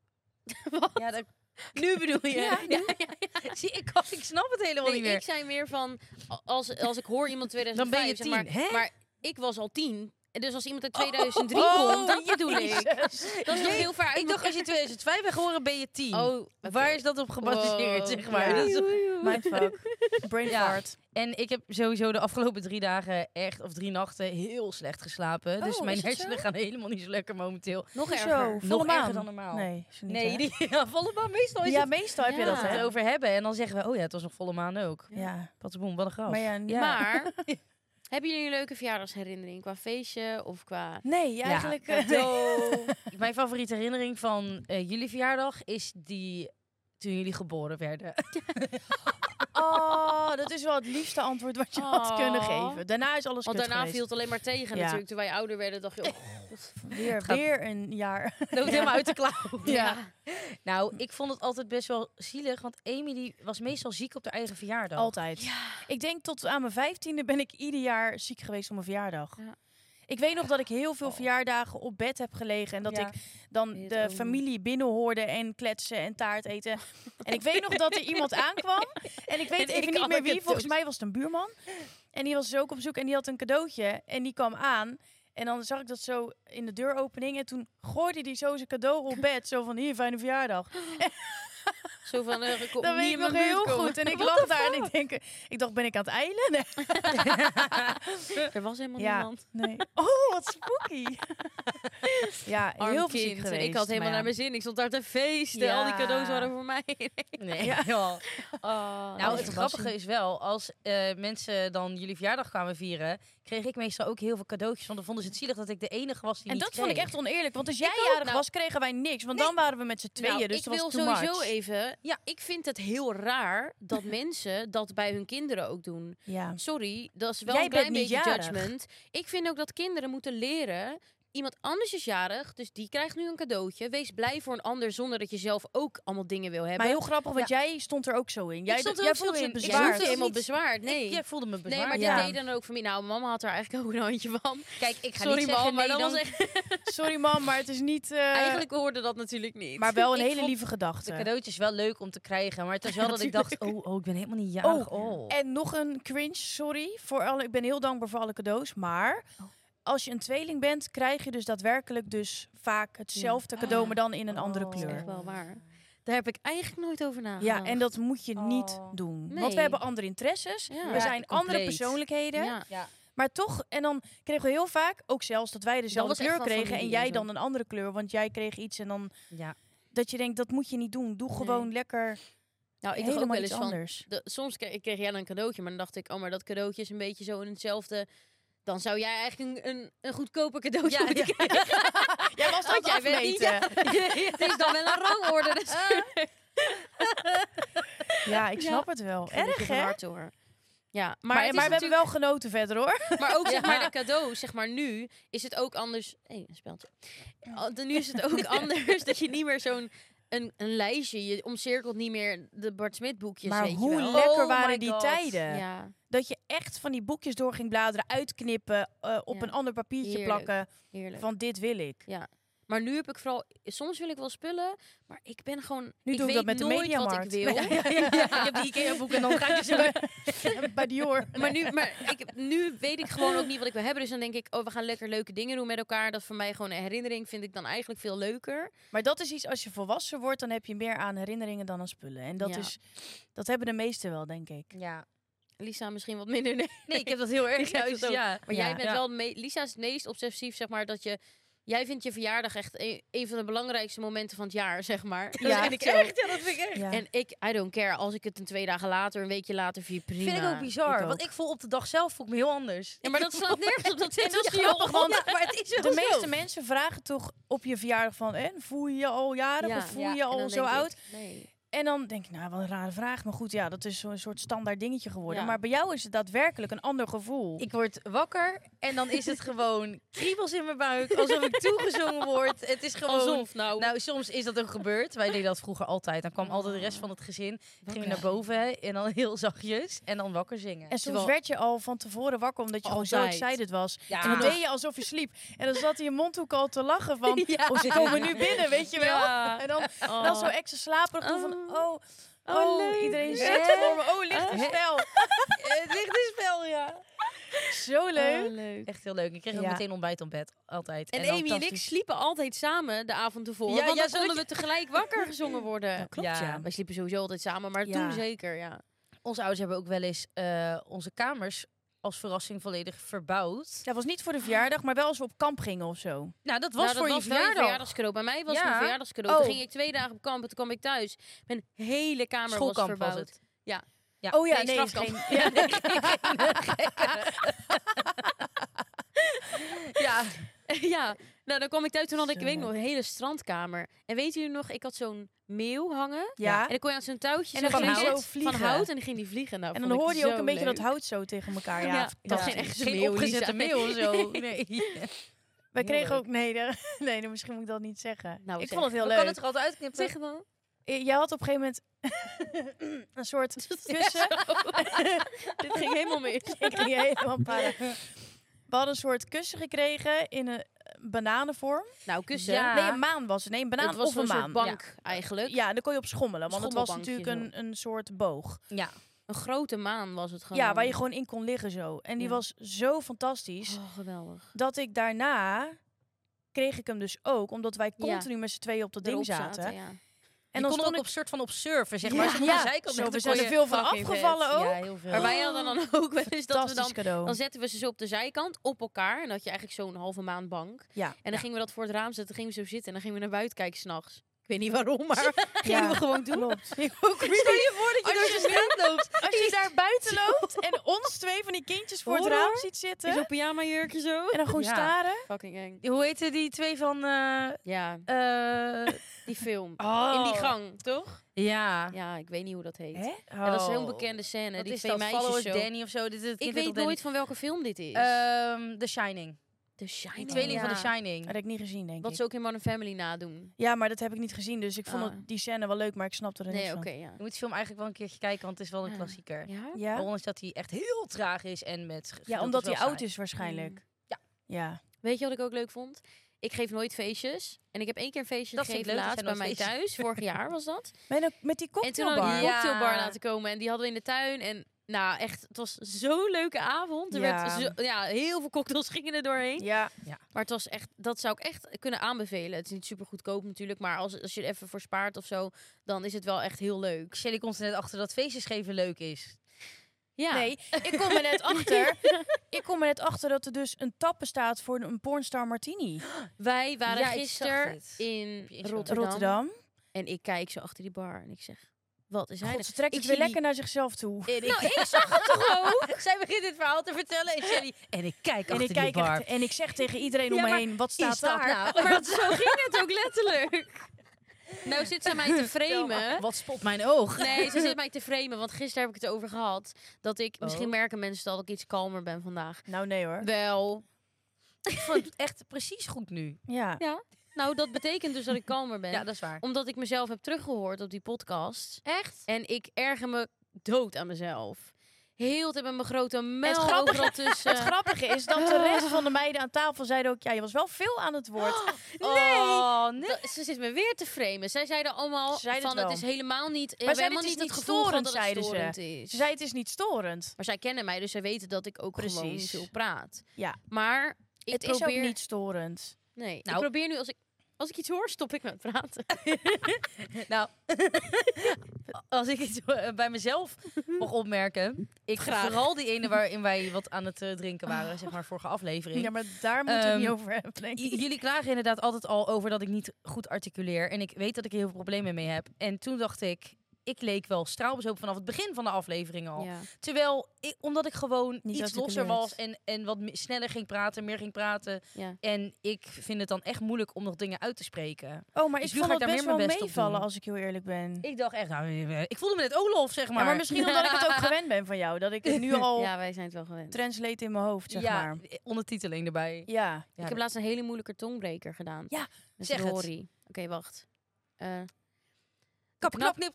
Speaker 3: Ja, dat... [LAUGHS] Nu bedoel je?
Speaker 4: Ja,
Speaker 3: ja, ja. Zie, ik, kan- ik snap het helemaal
Speaker 4: Nee,
Speaker 3: niet meer.
Speaker 4: ik zei meer van, a- als, als ik hoor iemand
Speaker 3: Dan
Speaker 4: 2005,
Speaker 3: ben je
Speaker 4: zeg maar,
Speaker 3: 10, hè?
Speaker 4: maar ik was al 10. En dus als
Speaker 1: Oh.
Speaker 4: iemand uit 2003 komt, dat bedoel ik. Dat is nog heel ver uit
Speaker 3: Ik dacht, als je 2005 bent geboren, ben je 10.
Speaker 4: elkaar. Oh,
Speaker 3: Waar is dat op gebaseerd,
Speaker 4: Wow.
Speaker 3: zeg maar?
Speaker 1: Oh, Ja.
Speaker 3: Dat is-
Speaker 1: Mindfuck. Brain
Speaker 3: Ja.
Speaker 1: fart.
Speaker 3: [LAUGHS] En ik heb sowieso de afgelopen drie dagen echt, of drie nachten, heel slecht geslapen. dus
Speaker 1: Oh,
Speaker 3: mijn
Speaker 1: is het zo?
Speaker 3: hersenen gaan helemaal niet zo lekker momenteel.
Speaker 4: nog
Speaker 1: Hoezo?
Speaker 4: erger.
Speaker 1: Volle
Speaker 3: Nog erger
Speaker 1: maan?
Speaker 3: dan normaal.
Speaker 1: Nee, is er niet,
Speaker 3: nee,
Speaker 1: hè?
Speaker 3: die, ja, volle maan. Meestal is
Speaker 1: ja,
Speaker 3: het
Speaker 1: meestal heb je
Speaker 4: Ja.
Speaker 1: dat,
Speaker 3: dat we het
Speaker 1: hè?
Speaker 3: over hebben. En dan zeggen we, oh ja, het was nog volle maan ook.
Speaker 1: Ja.
Speaker 3: Patseboom, wat een grap.
Speaker 1: Maar [LAUGHS] ja, niet-
Speaker 4: Maar, hebben jullie een leuke verjaardagsherinnering qua feestje
Speaker 1: [LAUGHS]
Speaker 4: of qua...
Speaker 1: Nee,
Speaker 3: Ja,
Speaker 1: eigenlijk...
Speaker 4: [LAUGHS]
Speaker 1: eh,
Speaker 3: cadeau. Mijn favoriete herinnering van eh, jullie verjaardag is die toen jullie geboren werden. [LAUGHS]
Speaker 1: Oh, dat is wel het liefste antwoord wat je had
Speaker 4: Oh.
Speaker 1: kunnen geven. Daarna is alles
Speaker 4: Want
Speaker 1: kut
Speaker 4: daarna
Speaker 1: geweest.
Speaker 4: viel het alleen maar tegen
Speaker 1: Ja.
Speaker 4: natuurlijk. Toen wij ouder werden, dacht je, oh,
Speaker 1: [LAUGHS]
Speaker 4: god.
Speaker 1: Weer,
Speaker 3: Gaat-
Speaker 1: weer een jaar. [LAUGHS]
Speaker 3: Dat was helemaal uit de klauw.
Speaker 1: Ja.
Speaker 3: Nou, ik vond het altijd best wel zielig, want Amy die was meestal ziek op haar eigen verjaardag.
Speaker 1: Altijd. Ik denk tot aan mijn vijftiende ben ik ieder jaar ziek geweest op mijn verjaardag.
Speaker 4: Ja.
Speaker 1: Ik weet nog dat ik heel veel verjaardagen op bed heb gelegen. En dat
Speaker 3: Ja.
Speaker 1: ik dan
Speaker 4: Weet
Speaker 1: de
Speaker 4: ook niet.
Speaker 1: familie binnen hoorde en kletsen en taart eten. En ik weet nog dat er iemand [LAUGHS] aankwam. En ik weet
Speaker 3: En
Speaker 1: even
Speaker 3: ik
Speaker 1: niet
Speaker 3: alle
Speaker 1: meer wie. Volgens
Speaker 3: cadeaus.
Speaker 1: mij was het een buurman. En die was dus ook op zoek en die had een cadeautje. En die kwam aan. En dan zag ik dat zo in de deuropening. En toen gooide hij zo zijn cadeau op bed. Zo van, hier, fijne verjaardag.
Speaker 4: Zo van, eh, ik kom
Speaker 1: Dat
Speaker 4: niet
Speaker 1: weet ik
Speaker 4: in
Speaker 1: nog
Speaker 4: mijn buurt
Speaker 1: heel
Speaker 4: komen.
Speaker 1: goed. En ik lag daar en ik denk, eh, ik dacht, ben ik aan het eilen? Nee.
Speaker 4: [LAUGHS] Er was helemaal
Speaker 1: Ja.
Speaker 4: niemand.
Speaker 1: Nee. [LAUGHS] Oh, wat spooky. ja,
Speaker 4: Arm
Speaker 1: heel
Speaker 4: kind.
Speaker 1: fysiek
Speaker 4: en
Speaker 1: geweest.
Speaker 4: ik had helemaal
Speaker 1: maar ja.
Speaker 4: naar mijn zin. Ik stond daar te feesten.
Speaker 1: Ja.
Speaker 4: Al die cadeaus waren voor mij.
Speaker 3: [LAUGHS] Nee,
Speaker 1: Ja.
Speaker 3: joh. Nou,
Speaker 1: [LAUGHS] Oh,
Speaker 3: het
Speaker 1: verrassing.
Speaker 3: grappige is wel, als eh, mensen dan jullie verjaardag kwamen vieren, kreeg ik meestal ook heel veel cadeautjes. Want dan vonden is het zielig dat ik de enige was die
Speaker 1: En
Speaker 3: niet
Speaker 1: dat vond ik
Speaker 3: kreeg.
Speaker 1: echt oneerlijk. Want als jij
Speaker 4: ook.
Speaker 1: jarig
Speaker 4: Nou-
Speaker 1: was, kregen wij niks. Want dan waren we met z'n tweeën.
Speaker 4: Nou,
Speaker 1: dus
Speaker 4: ik
Speaker 1: dat
Speaker 4: wil
Speaker 1: was too much.
Speaker 4: sowieso even. Ja, ik vind het heel raar dat
Speaker 1: [LAUGHS]
Speaker 4: mensen dat bij hun kinderen ook doen.
Speaker 1: Ja.
Speaker 4: Sorry, dat is wel
Speaker 1: Jij
Speaker 4: een klein
Speaker 1: bent niet
Speaker 4: beetje
Speaker 1: jarig.
Speaker 4: judgment. Ik vind ook dat kinderen moeten leren. Iemand anders is jarig, dus die krijgt nu een cadeautje. Wees blij voor een ander zonder dat je zelf ook allemaal dingen wil hebben.
Speaker 1: Maar heel grappig, want jij stond er ook zo in. Jij,
Speaker 3: stond er
Speaker 1: jij
Speaker 3: ook zo
Speaker 1: voelde
Speaker 3: in.
Speaker 1: je
Speaker 3: Ik
Speaker 4: Jij
Speaker 1: bezwaard.
Speaker 4: hoeft
Speaker 3: Zwaard.
Speaker 4: er helemaal
Speaker 3: Niet-
Speaker 4: bezwaard. Nee.
Speaker 3: Ik jij voelde me bezwaar.
Speaker 4: Nee, maar dit
Speaker 1: Ja.
Speaker 4: deed dan ook van... Nou, mama had er eigenlijk ook een handje van.
Speaker 3: Kijk, ik ga
Speaker 4: Sorry,
Speaker 3: niet
Speaker 4: mam,
Speaker 3: zeggen
Speaker 4: maar
Speaker 3: nee, dan...
Speaker 4: dat was echt...
Speaker 1: Sorry man, maar het is niet... eh,
Speaker 4: Eigenlijk hoorde dat natuurlijk niet.
Speaker 1: maar wel een
Speaker 3: Ik
Speaker 1: hele
Speaker 3: vond
Speaker 1: lieve
Speaker 3: De
Speaker 1: gedachte.
Speaker 3: cadeautjes wel leuk om te krijgen, maar het [LAUGHS] was wel dat ik dacht, oh, oh, ik ben helemaal niet jarig. Oh,
Speaker 1: En nog een cringe, sorry. Voor alle, ik ben heel dankbaar voor alle cadeaus. Maar als je een tweeling bent, krijg je dus daadwerkelijk dus vaak hetzelfde cadeau, maar dan in een andere
Speaker 3: Oh.
Speaker 1: kleur.
Speaker 4: Echt wel waar. Daar heb ik eigenlijk nooit over nagedacht.
Speaker 1: Ja, en dat moet je niet
Speaker 3: Oh.
Speaker 1: doen.
Speaker 4: Nee.
Speaker 1: Want we hebben andere interesses.
Speaker 4: Ja.
Speaker 1: We
Speaker 4: Ja,
Speaker 1: zijn andere
Speaker 3: compleet.
Speaker 1: persoonlijkheden.
Speaker 4: Ja.
Speaker 3: ja.
Speaker 1: Maar toch, en dan kregen we heel vaak, ook zelfs dat wij dezelfde
Speaker 3: was echt
Speaker 1: kleur
Speaker 3: wel
Speaker 1: kregen en
Speaker 3: familie en
Speaker 1: jij
Speaker 3: zo.
Speaker 1: dan een andere kleur. Want jij kreeg iets en dan
Speaker 3: ja.
Speaker 1: dat je denkt, dat moet je niet doen. Doe gewoon lekker
Speaker 4: Nou, ik dacht ook
Speaker 1: helemaal
Speaker 4: wel
Speaker 1: iets
Speaker 4: eens van...
Speaker 1: anders.
Speaker 4: de- soms kreeg, kreeg jij dan een cadeautje, maar dan dacht ik, oh, maar dat cadeautje is een beetje zo in hetzelfde. Dan zou jij eigenlijk een, een, een goedkoper cadeautje
Speaker 3: Ja,
Speaker 4: moeten
Speaker 3: ja.
Speaker 4: [LAUGHS] krijgen.
Speaker 1: Jij was
Speaker 4: Want
Speaker 1: dat
Speaker 4: [LAUGHS] jij bent niet-
Speaker 1: afmeten. Ja.
Speaker 4: [LAUGHS] Het is dan wel een rangorde. dus- natuurlijk.
Speaker 1: ik
Speaker 4: Ja.
Speaker 1: snap het wel. Eh, Erg, hè? Maar,
Speaker 4: hard hoor. Ja, maar,
Speaker 1: maar,
Speaker 4: het is
Speaker 1: we hebben wel genoten verder, hoor.
Speaker 4: natuurlijk- maar ook zeg maar
Speaker 3: Ja.
Speaker 4: de cadeau, zeg maar nu, is het ook anders. Hé, een speldje. Al- de- Nu is het
Speaker 1: [LAUGHS]
Speaker 4: ook anders dat je niet meer zo'n een, een lijstje, je omcirkelt niet meer de Bart Smit boekjes,
Speaker 1: Maar
Speaker 4: weet je
Speaker 1: hoe
Speaker 4: wel.
Speaker 1: lekker
Speaker 3: Oh my
Speaker 1: waren die
Speaker 3: God.
Speaker 1: tijden?
Speaker 4: Ja,
Speaker 1: Dat je echt van die boekjes door ging bladeren, uitknippen, eh, op
Speaker 4: Ja.
Speaker 1: een ander papiertje
Speaker 4: Heerlijk.
Speaker 1: plakken.
Speaker 4: heerlijk.
Speaker 1: Van dit wil ik.
Speaker 4: Maar nu heb ik vooral, soms wil ik wel spullen, maar ik ben gewoon.
Speaker 1: Nu
Speaker 4: ik
Speaker 1: doe ik
Speaker 4: weet
Speaker 1: dat met de
Speaker 4: nooit
Speaker 1: Mediamarkt.
Speaker 4: Wat
Speaker 1: [LAUGHS]
Speaker 4: ik wil. [LAUGHS]
Speaker 3: Ik heb die Ikea-boek en dan ga ik dus zo...
Speaker 1: Bij Dior.
Speaker 4: Maar, nu, maar ik, nu weet ik gewoon ook niet wat ik wil hebben. Dus dan denk ik, oh, we gaan lekker leuke dingen doen met elkaar. Dat is voor mij gewoon een herinnering, vind ik dan eigenlijk veel leuker.
Speaker 1: Maar dat is iets, als je volwassen wordt, dan heb je meer aan herinneringen dan aan spullen. En dat,
Speaker 4: Ja.
Speaker 1: is, dat hebben de meesten wel, denk ik.
Speaker 3: Ja.
Speaker 4: Lisa misschien wat minder. Nee.
Speaker 3: Nee, ik heb dat
Speaker 4: [LAUGHS]
Speaker 3: heel erg
Speaker 4: Ik heb
Speaker 3: [LAUGHS] juist,
Speaker 4: dat ook.
Speaker 3: ja.
Speaker 4: Maar jij
Speaker 3: Ja.
Speaker 4: bent
Speaker 3: Ja.
Speaker 4: wel, het me- Lisa is het meest obsessief, zeg maar, dat je... Jij vindt je verjaardag echt een, een van de belangrijkste momenten van het jaar, zeg maar. Dat is
Speaker 1: Ja.
Speaker 4: echt zo.
Speaker 3: ja, dat vind ik echt.
Speaker 1: Ja.
Speaker 4: En ik, I don't care, als ik het een twee dagen later, een weekje later vier, prima.
Speaker 3: Vind ik ook bizar,
Speaker 1: Ik ook.
Speaker 3: want ik voel op de dag zelf voel ik me heel anders.
Speaker 4: Ja, maar dat slaat nergens
Speaker 3: [LAUGHS]
Speaker 4: op. Dat,
Speaker 3: En dat is grappig, want maar het is wel
Speaker 1: De
Speaker 3: zo.
Speaker 1: meeste mensen vragen toch op je verjaardag van, en voel je je al jarig
Speaker 4: Ja.
Speaker 1: of voel
Speaker 3: Ja,
Speaker 1: je je
Speaker 4: En dan
Speaker 1: al zo
Speaker 4: denk ik,
Speaker 1: oud?
Speaker 4: nee.
Speaker 1: En dan denk ik, nou, wat een rare vraag. Maar goed, ja, dat is zo'n soort standaard dingetje geworden.
Speaker 4: Ja.
Speaker 1: Maar bij jou is het daadwerkelijk een ander gevoel.
Speaker 3: Ik word wakker en dan is het gewoon kriebels in mijn buik, alsof ik toegezongen word. Het is gewoon...
Speaker 4: Alsof, nou.
Speaker 3: Nou, soms is dat ook gebeurd. Wij deden dat vroeger altijd. Dan kwam altijd de rest van het gezin. Gingen naar boven hè, en dan heel zachtjes. En dan wakker zingen.
Speaker 1: en soms
Speaker 3: Terwijl-
Speaker 1: werd je al van tevoren wakker omdat je gewoon zo
Speaker 4: Altijd.
Speaker 1: excited was.
Speaker 3: Ja.
Speaker 1: En dan deed je alsof je sliep. En dan zat hij in je mondhoek al te lachen
Speaker 4: [LAUGHS]
Speaker 1: van,
Speaker 3: Ja.
Speaker 1: oh, ze komen nu binnen, weet je wel?
Speaker 4: Ja.
Speaker 1: En dan, dan zo extra slaperig doen van, oh, oh,
Speaker 4: leuk.
Speaker 1: iedereen
Speaker 4: Ja.
Speaker 1: zit voor me. Oh, ligt een spel.
Speaker 3: Het ligt in spel, ja.
Speaker 1: Zo leuk.
Speaker 4: leuk.
Speaker 3: Echt heel Oh, leuk. Ik kreeg ook
Speaker 1: Ja.
Speaker 3: meteen ontbijt op bed. Altijd.
Speaker 4: En,
Speaker 3: dan
Speaker 4: Amy en ik
Speaker 3: fantastisch.
Speaker 4: sliepen altijd samen de avond ervoor.
Speaker 3: Ja,
Speaker 4: want
Speaker 3: ja,
Speaker 4: dan
Speaker 3: zodat
Speaker 4: konden we tegelijk wakker gezongen worden.
Speaker 1: Klopt, ja.
Speaker 3: Ja.
Speaker 4: Wij sliepen sowieso altijd samen, maar
Speaker 1: Ja.
Speaker 4: toen zeker, ja.
Speaker 3: Onze ouders hebben ook wel eens eh, onze kamers als verrassing volledig verbouwd.
Speaker 1: Dat was niet voor de verjaardag, maar wel als we op kamp gingen of zo.
Speaker 3: Nou, dat was
Speaker 4: Nou, dat
Speaker 3: voor je
Speaker 4: was wel
Speaker 3: verjaardag.
Speaker 4: verjaardagscadeau. Bij mij was het
Speaker 3: Ja.
Speaker 4: mijn verjaardagscadeau. Toen
Speaker 1: Oh.
Speaker 4: ging ik twee dagen op kamp en toen kwam ik thuis. Mijn hele kamer was
Speaker 3: Schoolkamp was
Speaker 4: verbouwd.
Speaker 3: het. Ja.
Speaker 1: Oh ja,
Speaker 4: nee,
Speaker 1: nee, [LAUGHS]
Speaker 4: strafkamp.
Speaker 1: geen-
Speaker 3: Ja.
Speaker 4: [LAUGHS] ja, nou dan kwam ik thuis. Toen had ik,
Speaker 1: Zo
Speaker 4: weet ik
Speaker 1: leuk.
Speaker 4: nog, een hele strandkamer. En weten jullie nog, ik had zo'n meeuw hangen.
Speaker 1: ja.
Speaker 4: En dan kon je aan zo'n touwtje
Speaker 1: En dan
Speaker 4: zo
Speaker 1: ging
Speaker 4: van,
Speaker 1: die zo
Speaker 4: hout, van
Speaker 1: vliegen.
Speaker 4: hout. En dan ging die vliegen. Nou,
Speaker 1: En dan
Speaker 4: vond ik
Speaker 1: hoorde je ook
Speaker 4: zo
Speaker 1: een beetje dat
Speaker 4: leuk.
Speaker 1: hout zo tegen elkaar. Ja,
Speaker 4: Ja, dat
Speaker 1: fantastisch.
Speaker 4: geen echt zo'n
Speaker 3: Geen
Speaker 4: meeuw,
Speaker 3: opgezette
Speaker 4: Lisa.
Speaker 3: mail of [LAUGHS] zo. Nee.
Speaker 1: Wij
Speaker 3: Heel
Speaker 1: kregen
Speaker 3: leuk.
Speaker 1: ook... Nee, [LAUGHS] daar- nee, nou, misschien moet ik dat niet zeggen.
Speaker 4: Nou,
Speaker 1: ik
Speaker 4: zeg,
Speaker 1: vond het heel
Speaker 3: We kan
Speaker 1: leuk.
Speaker 3: het er altijd uitknippen.
Speaker 4: Zeg dan.
Speaker 1: Eh, Jij had op een gegeven moment [CLEARS THROAT] een
Speaker 4: [LAUGHS]
Speaker 1: soort kussen. [LAUGHS]
Speaker 4: Dit ging helemaal mis.
Speaker 1: Ik ging helemaal para. We hadden een soort kussen gekregen in een eh, bananenvorm.
Speaker 4: Nou, kussen.
Speaker 3: Ja.
Speaker 1: Nee, een maan was het. Nee, een banaan
Speaker 4: dat was
Speaker 1: of een
Speaker 4: een soort
Speaker 1: maan.
Speaker 4: bank eigenlijk.
Speaker 1: Ja, daar kon je op schommelen. Want het was
Speaker 4: Schommelbankje
Speaker 1: natuurlijk een, een soort boog.
Speaker 3: Ja.
Speaker 4: Een grote maan was het gewoon.
Speaker 1: Ja, waar je gewoon in kon liggen zo. En die
Speaker 4: Ja.
Speaker 1: was zo fantastisch.
Speaker 4: Oh, geweldig.
Speaker 1: dat ik daarna kreeg ik hem dus ook, omdat wij
Speaker 4: Ja.
Speaker 1: continu met z'n tweeën op dat ding
Speaker 4: Erop
Speaker 1: zaten.
Speaker 4: ja.
Speaker 1: En
Speaker 3: En dan
Speaker 1: dan
Speaker 3: kon
Speaker 1: stond
Speaker 3: ook op
Speaker 1: ik
Speaker 3: soort van op surfen, zeg
Speaker 1: Ja,
Speaker 3: maar. Als je van de
Speaker 1: ja.
Speaker 3: zijkant
Speaker 1: Zo,
Speaker 3: legt, dan
Speaker 1: we zijn
Speaker 3: kon
Speaker 1: er
Speaker 3: je
Speaker 1: veel van
Speaker 3: fucking vet.
Speaker 1: afgevallen ook.
Speaker 3: Ja, heel veel.
Speaker 4: Maar wij hadden dan ook wel eens dat we
Speaker 1: fantastisch
Speaker 4: dan...
Speaker 1: cadeau.
Speaker 4: Dan zetten we ze zo op de zijkant, op elkaar. En dan had je eigenlijk zo'n halve maan bank.
Speaker 1: Ja.
Speaker 4: En dan gingen we dat voor het raam zetten, gingen we zo zitten. En dan gingen we naar buiten kijken s'nachts. Ik weet niet waarom, [LAUGHS] maar gingen
Speaker 1: Ja.
Speaker 4: we gewoon doen. [LAUGHS]
Speaker 1: Klopt.
Speaker 4: Ook weer-
Speaker 3: je voor dat
Speaker 1: Als
Speaker 3: door
Speaker 1: je
Speaker 3: de straat loopt.
Speaker 1: Als je daar buiten loopt en ons twee van die kindjes voor het
Speaker 4: Horror.
Speaker 1: raam ziet
Speaker 4: In
Speaker 1: zitten.
Speaker 4: zo'n pyjama jurkje zo.
Speaker 1: En dan gewoon
Speaker 3: Ja.
Speaker 1: staren.
Speaker 4: Fucking eng.
Speaker 3: Eh, Hoe heette die twee van... eh,
Speaker 4: Ja,
Speaker 3: eh,
Speaker 4: die film.
Speaker 1: Oh.
Speaker 4: In die gang, toch?
Speaker 3: [LAUGHS] ja.
Speaker 4: Ja, ik weet niet hoe dat heet.
Speaker 1: Hè? Oh.
Speaker 4: Ja, dat is een heel bekende scène.
Speaker 3: Oh. Wat
Speaker 4: die
Speaker 3: is
Speaker 4: twee
Speaker 3: dat?
Speaker 4: meisjes
Speaker 3: Followers
Speaker 4: zo.
Speaker 3: Danny of zo? Dit is het
Speaker 4: Ik
Speaker 3: kind
Speaker 4: weet
Speaker 3: dat Danny-
Speaker 4: nooit van welke film dit is.
Speaker 3: Ehm, The Shining.
Speaker 4: de
Speaker 3: Die
Speaker 4: Shining.
Speaker 3: tweeling van
Speaker 4: Ja.
Speaker 3: The Shining.
Speaker 1: Dat heb ik niet gezien, denk
Speaker 4: Wat
Speaker 1: ik.
Speaker 4: ze ook in Modern Family nadoen.
Speaker 1: Ja, maar dat heb ik niet gezien. Dus ik vond
Speaker 4: Ah.
Speaker 1: het- die scène wel leuk, maar ik snapte er niks
Speaker 4: Nee, oké,
Speaker 1: van.
Speaker 4: ja.
Speaker 3: Je moet die film eigenlijk wel een keertje kijken, want het is wel een
Speaker 4: Ja.
Speaker 3: klassieker.
Speaker 4: Ja?
Speaker 1: Ja?
Speaker 3: Ondanks dat hij echt heel traag is en met...
Speaker 1: ja,
Speaker 3: gedeeltes
Speaker 1: omdat
Speaker 3: wel
Speaker 1: hij oud
Speaker 3: saai.
Speaker 1: is waarschijnlijk.
Speaker 4: Mm.
Speaker 3: Ja.
Speaker 1: Ja.
Speaker 4: Weet je wat ik ook leuk vond? Ik geef nooit feestjes. En ik heb één keer een feestje
Speaker 3: Dat vind ik
Speaker 4: gegeven
Speaker 3: leuk,
Speaker 4: laatst
Speaker 3: dat
Speaker 4: bij
Speaker 3: jij
Speaker 4: mij
Speaker 3: nooit
Speaker 4: thuis. Vorig
Speaker 3: [LAUGHS]
Speaker 4: jaar was dat.
Speaker 1: Met, een- met die
Speaker 4: En toen had ik
Speaker 1: cocktailbar.
Speaker 4: een
Speaker 3: Ja.
Speaker 4: cocktailbar laten komen. En die hadden we in de tuin. En nou, echt, het was zo'n leuke avond. Er
Speaker 1: Ja.
Speaker 4: werd zo, ja, heel veel cocktails [LAUGHS] gingen er doorheen.
Speaker 1: Ja.
Speaker 4: Maar het was echt, dat zou ik echt kunnen aanbevelen. Het is niet super goedkoop natuurlijk. Maar als, als je er even voor spaart of zo, dan is het wel echt heel leuk.
Speaker 3: Shelly komt er net achter dat feestjes geven leuk is.
Speaker 4: Ja. [LAUGHS]
Speaker 1: Nee, ik kom er net achter. ik kom er net achter dat er dus een tap bestaat voor een pornstar martini.
Speaker 4: Wij waren
Speaker 3: Ja, ik zag
Speaker 4: gisteren
Speaker 3: dit.
Speaker 4: in
Speaker 3: Op je Instagram.
Speaker 4: Rotterdam.
Speaker 1: Rotterdam.
Speaker 4: En ik kijk zo achter die bar en ik zeg, wat is hij
Speaker 1: God,
Speaker 4: er?
Speaker 1: ze trekt
Speaker 4: Ik
Speaker 1: het weer
Speaker 4: zie die-
Speaker 1: lekker naar zichzelf toe.
Speaker 4: [LAUGHS]
Speaker 3: nou, ik zag het toch ook? Zij begint dit verhaal te vertellen en Shelly... En ik kijk
Speaker 1: En
Speaker 3: achter
Speaker 1: ik, kijk
Speaker 3: die bar.
Speaker 1: echt- en ik zeg tegen iedereen om
Speaker 3: Ja,
Speaker 1: me
Speaker 3: maar
Speaker 1: heen, wat
Speaker 3: Is
Speaker 1: staat
Speaker 3: dat
Speaker 1: daar?
Speaker 3: nou? [LAUGHS]
Speaker 4: Maar dat, zo ging het ook letterlijk. Nou zit ze mij te framen.
Speaker 3: Wat spot mijn oog?
Speaker 4: Nee, ze zit mij te framen, want gisteren heb ik het over gehad. Dat ik, misschien
Speaker 3: Oh.
Speaker 4: merken mensen dat ik iets kalmer ben vandaag.
Speaker 1: Nou, nee hoor.
Speaker 4: Wel.
Speaker 3: Ik vond het echt precies goed nu.
Speaker 1: Ja.
Speaker 4: Ja. Nou, dat betekent dus dat ik kalmer ben.
Speaker 3: Ja, dat is waar.
Speaker 4: Omdat ik mezelf heb teruggehoord op die podcast. Echt? En ik erger me dood aan mezelf. Heel de tijd met mijn grote mel
Speaker 1: grappige-
Speaker 4: overal tussen.
Speaker 1: Het grappige is dat de rest van de meiden aan tafel zeiden ook, ja, je was wel veel aan het woord.
Speaker 3: Ah. Oh, nee.
Speaker 4: Dat- ze zit me weer te framen. Zij zeiden allemaal
Speaker 1: Ze zeiden
Speaker 4: van
Speaker 1: het
Speaker 4: het,
Speaker 1: wel.
Speaker 4: is helemaal niet...
Speaker 1: Maar
Speaker 4: Maar
Speaker 1: zij-
Speaker 4: helemaal
Speaker 1: het is
Speaker 4: niet het
Speaker 1: niet
Speaker 4: gevoel gehad
Speaker 1: storend,
Speaker 4: dat het
Speaker 1: zeiden ze.
Speaker 4: storend is.
Speaker 1: Ze zei, het is niet storend.
Speaker 4: Maar zij kennen mij, dus zij weten dat ik ook gewoon
Speaker 1: Precies.
Speaker 4: veel praat.
Speaker 1: Ja.
Speaker 4: Maar ik
Speaker 1: het is
Speaker 4: probeer...
Speaker 1: ook niet storend.
Speaker 4: Nee,
Speaker 3: Nou.
Speaker 4: ik probeer nu als ik... Als ik iets hoor, stop ik met praten.
Speaker 3: Nou, als ik iets eh, bij mezelf mag opmerken. Ik
Speaker 4: Graag.
Speaker 3: Vooral die ene waarin wij wat aan het eh, drinken waren, zeg maar, vorige aflevering.
Speaker 1: Ja, maar daar moeten we het
Speaker 3: Ehm,
Speaker 1: niet over hebben, denk ik.
Speaker 3: J- Jullie klagen inderdaad altijd al over dat ik niet goed articuleer. En ik weet dat ik er heel veel problemen mee heb. En toen dacht ik, ik leek wel straalbezopen vanaf het begin van de aflevering al.
Speaker 4: Ja.
Speaker 3: Terwijl, ik- omdat ik gewoon
Speaker 1: Niet
Speaker 3: iets losser
Speaker 1: articuleert.
Speaker 3: was en, en wat me- sneller ging praten, meer ging praten.
Speaker 4: Ja.
Speaker 3: En ik vind het dan echt moeilijk om nog dingen uit te spreken.
Speaker 1: Oh, maar
Speaker 3: Dus
Speaker 1: ik
Speaker 3: nu
Speaker 1: vond
Speaker 3: ga ik
Speaker 1: het
Speaker 3: daar
Speaker 1: best
Speaker 3: meer
Speaker 1: wel
Speaker 3: mijn best op
Speaker 1: meevallen,
Speaker 3: doen.
Speaker 1: als ik heel eerlijk ben.
Speaker 3: Ik dacht echt, nou, eh, ik voelde me net Olof, zeg maar.
Speaker 1: Ja, maar misschien omdat ik
Speaker 3: [LAUGHS]
Speaker 1: het ook gewend ben van jou. Dat ik het nu al
Speaker 4: ja, wij zijn het wel gewend.
Speaker 1: translate in mijn hoofd, zeg
Speaker 3: ja,
Speaker 1: maar.
Speaker 3: eh, ondertiteling erbij.
Speaker 1: Ja.
Speaker 4: ik heb laatst een hele moeilijke tongbreker gedaan.
Speaker 1: Ja,
Speaker 4: Met
Speaker 3: zeg het.
Speaker 4: Rory. Oké, wacht. Eh,
Speaker 3: Kap, knap, knip.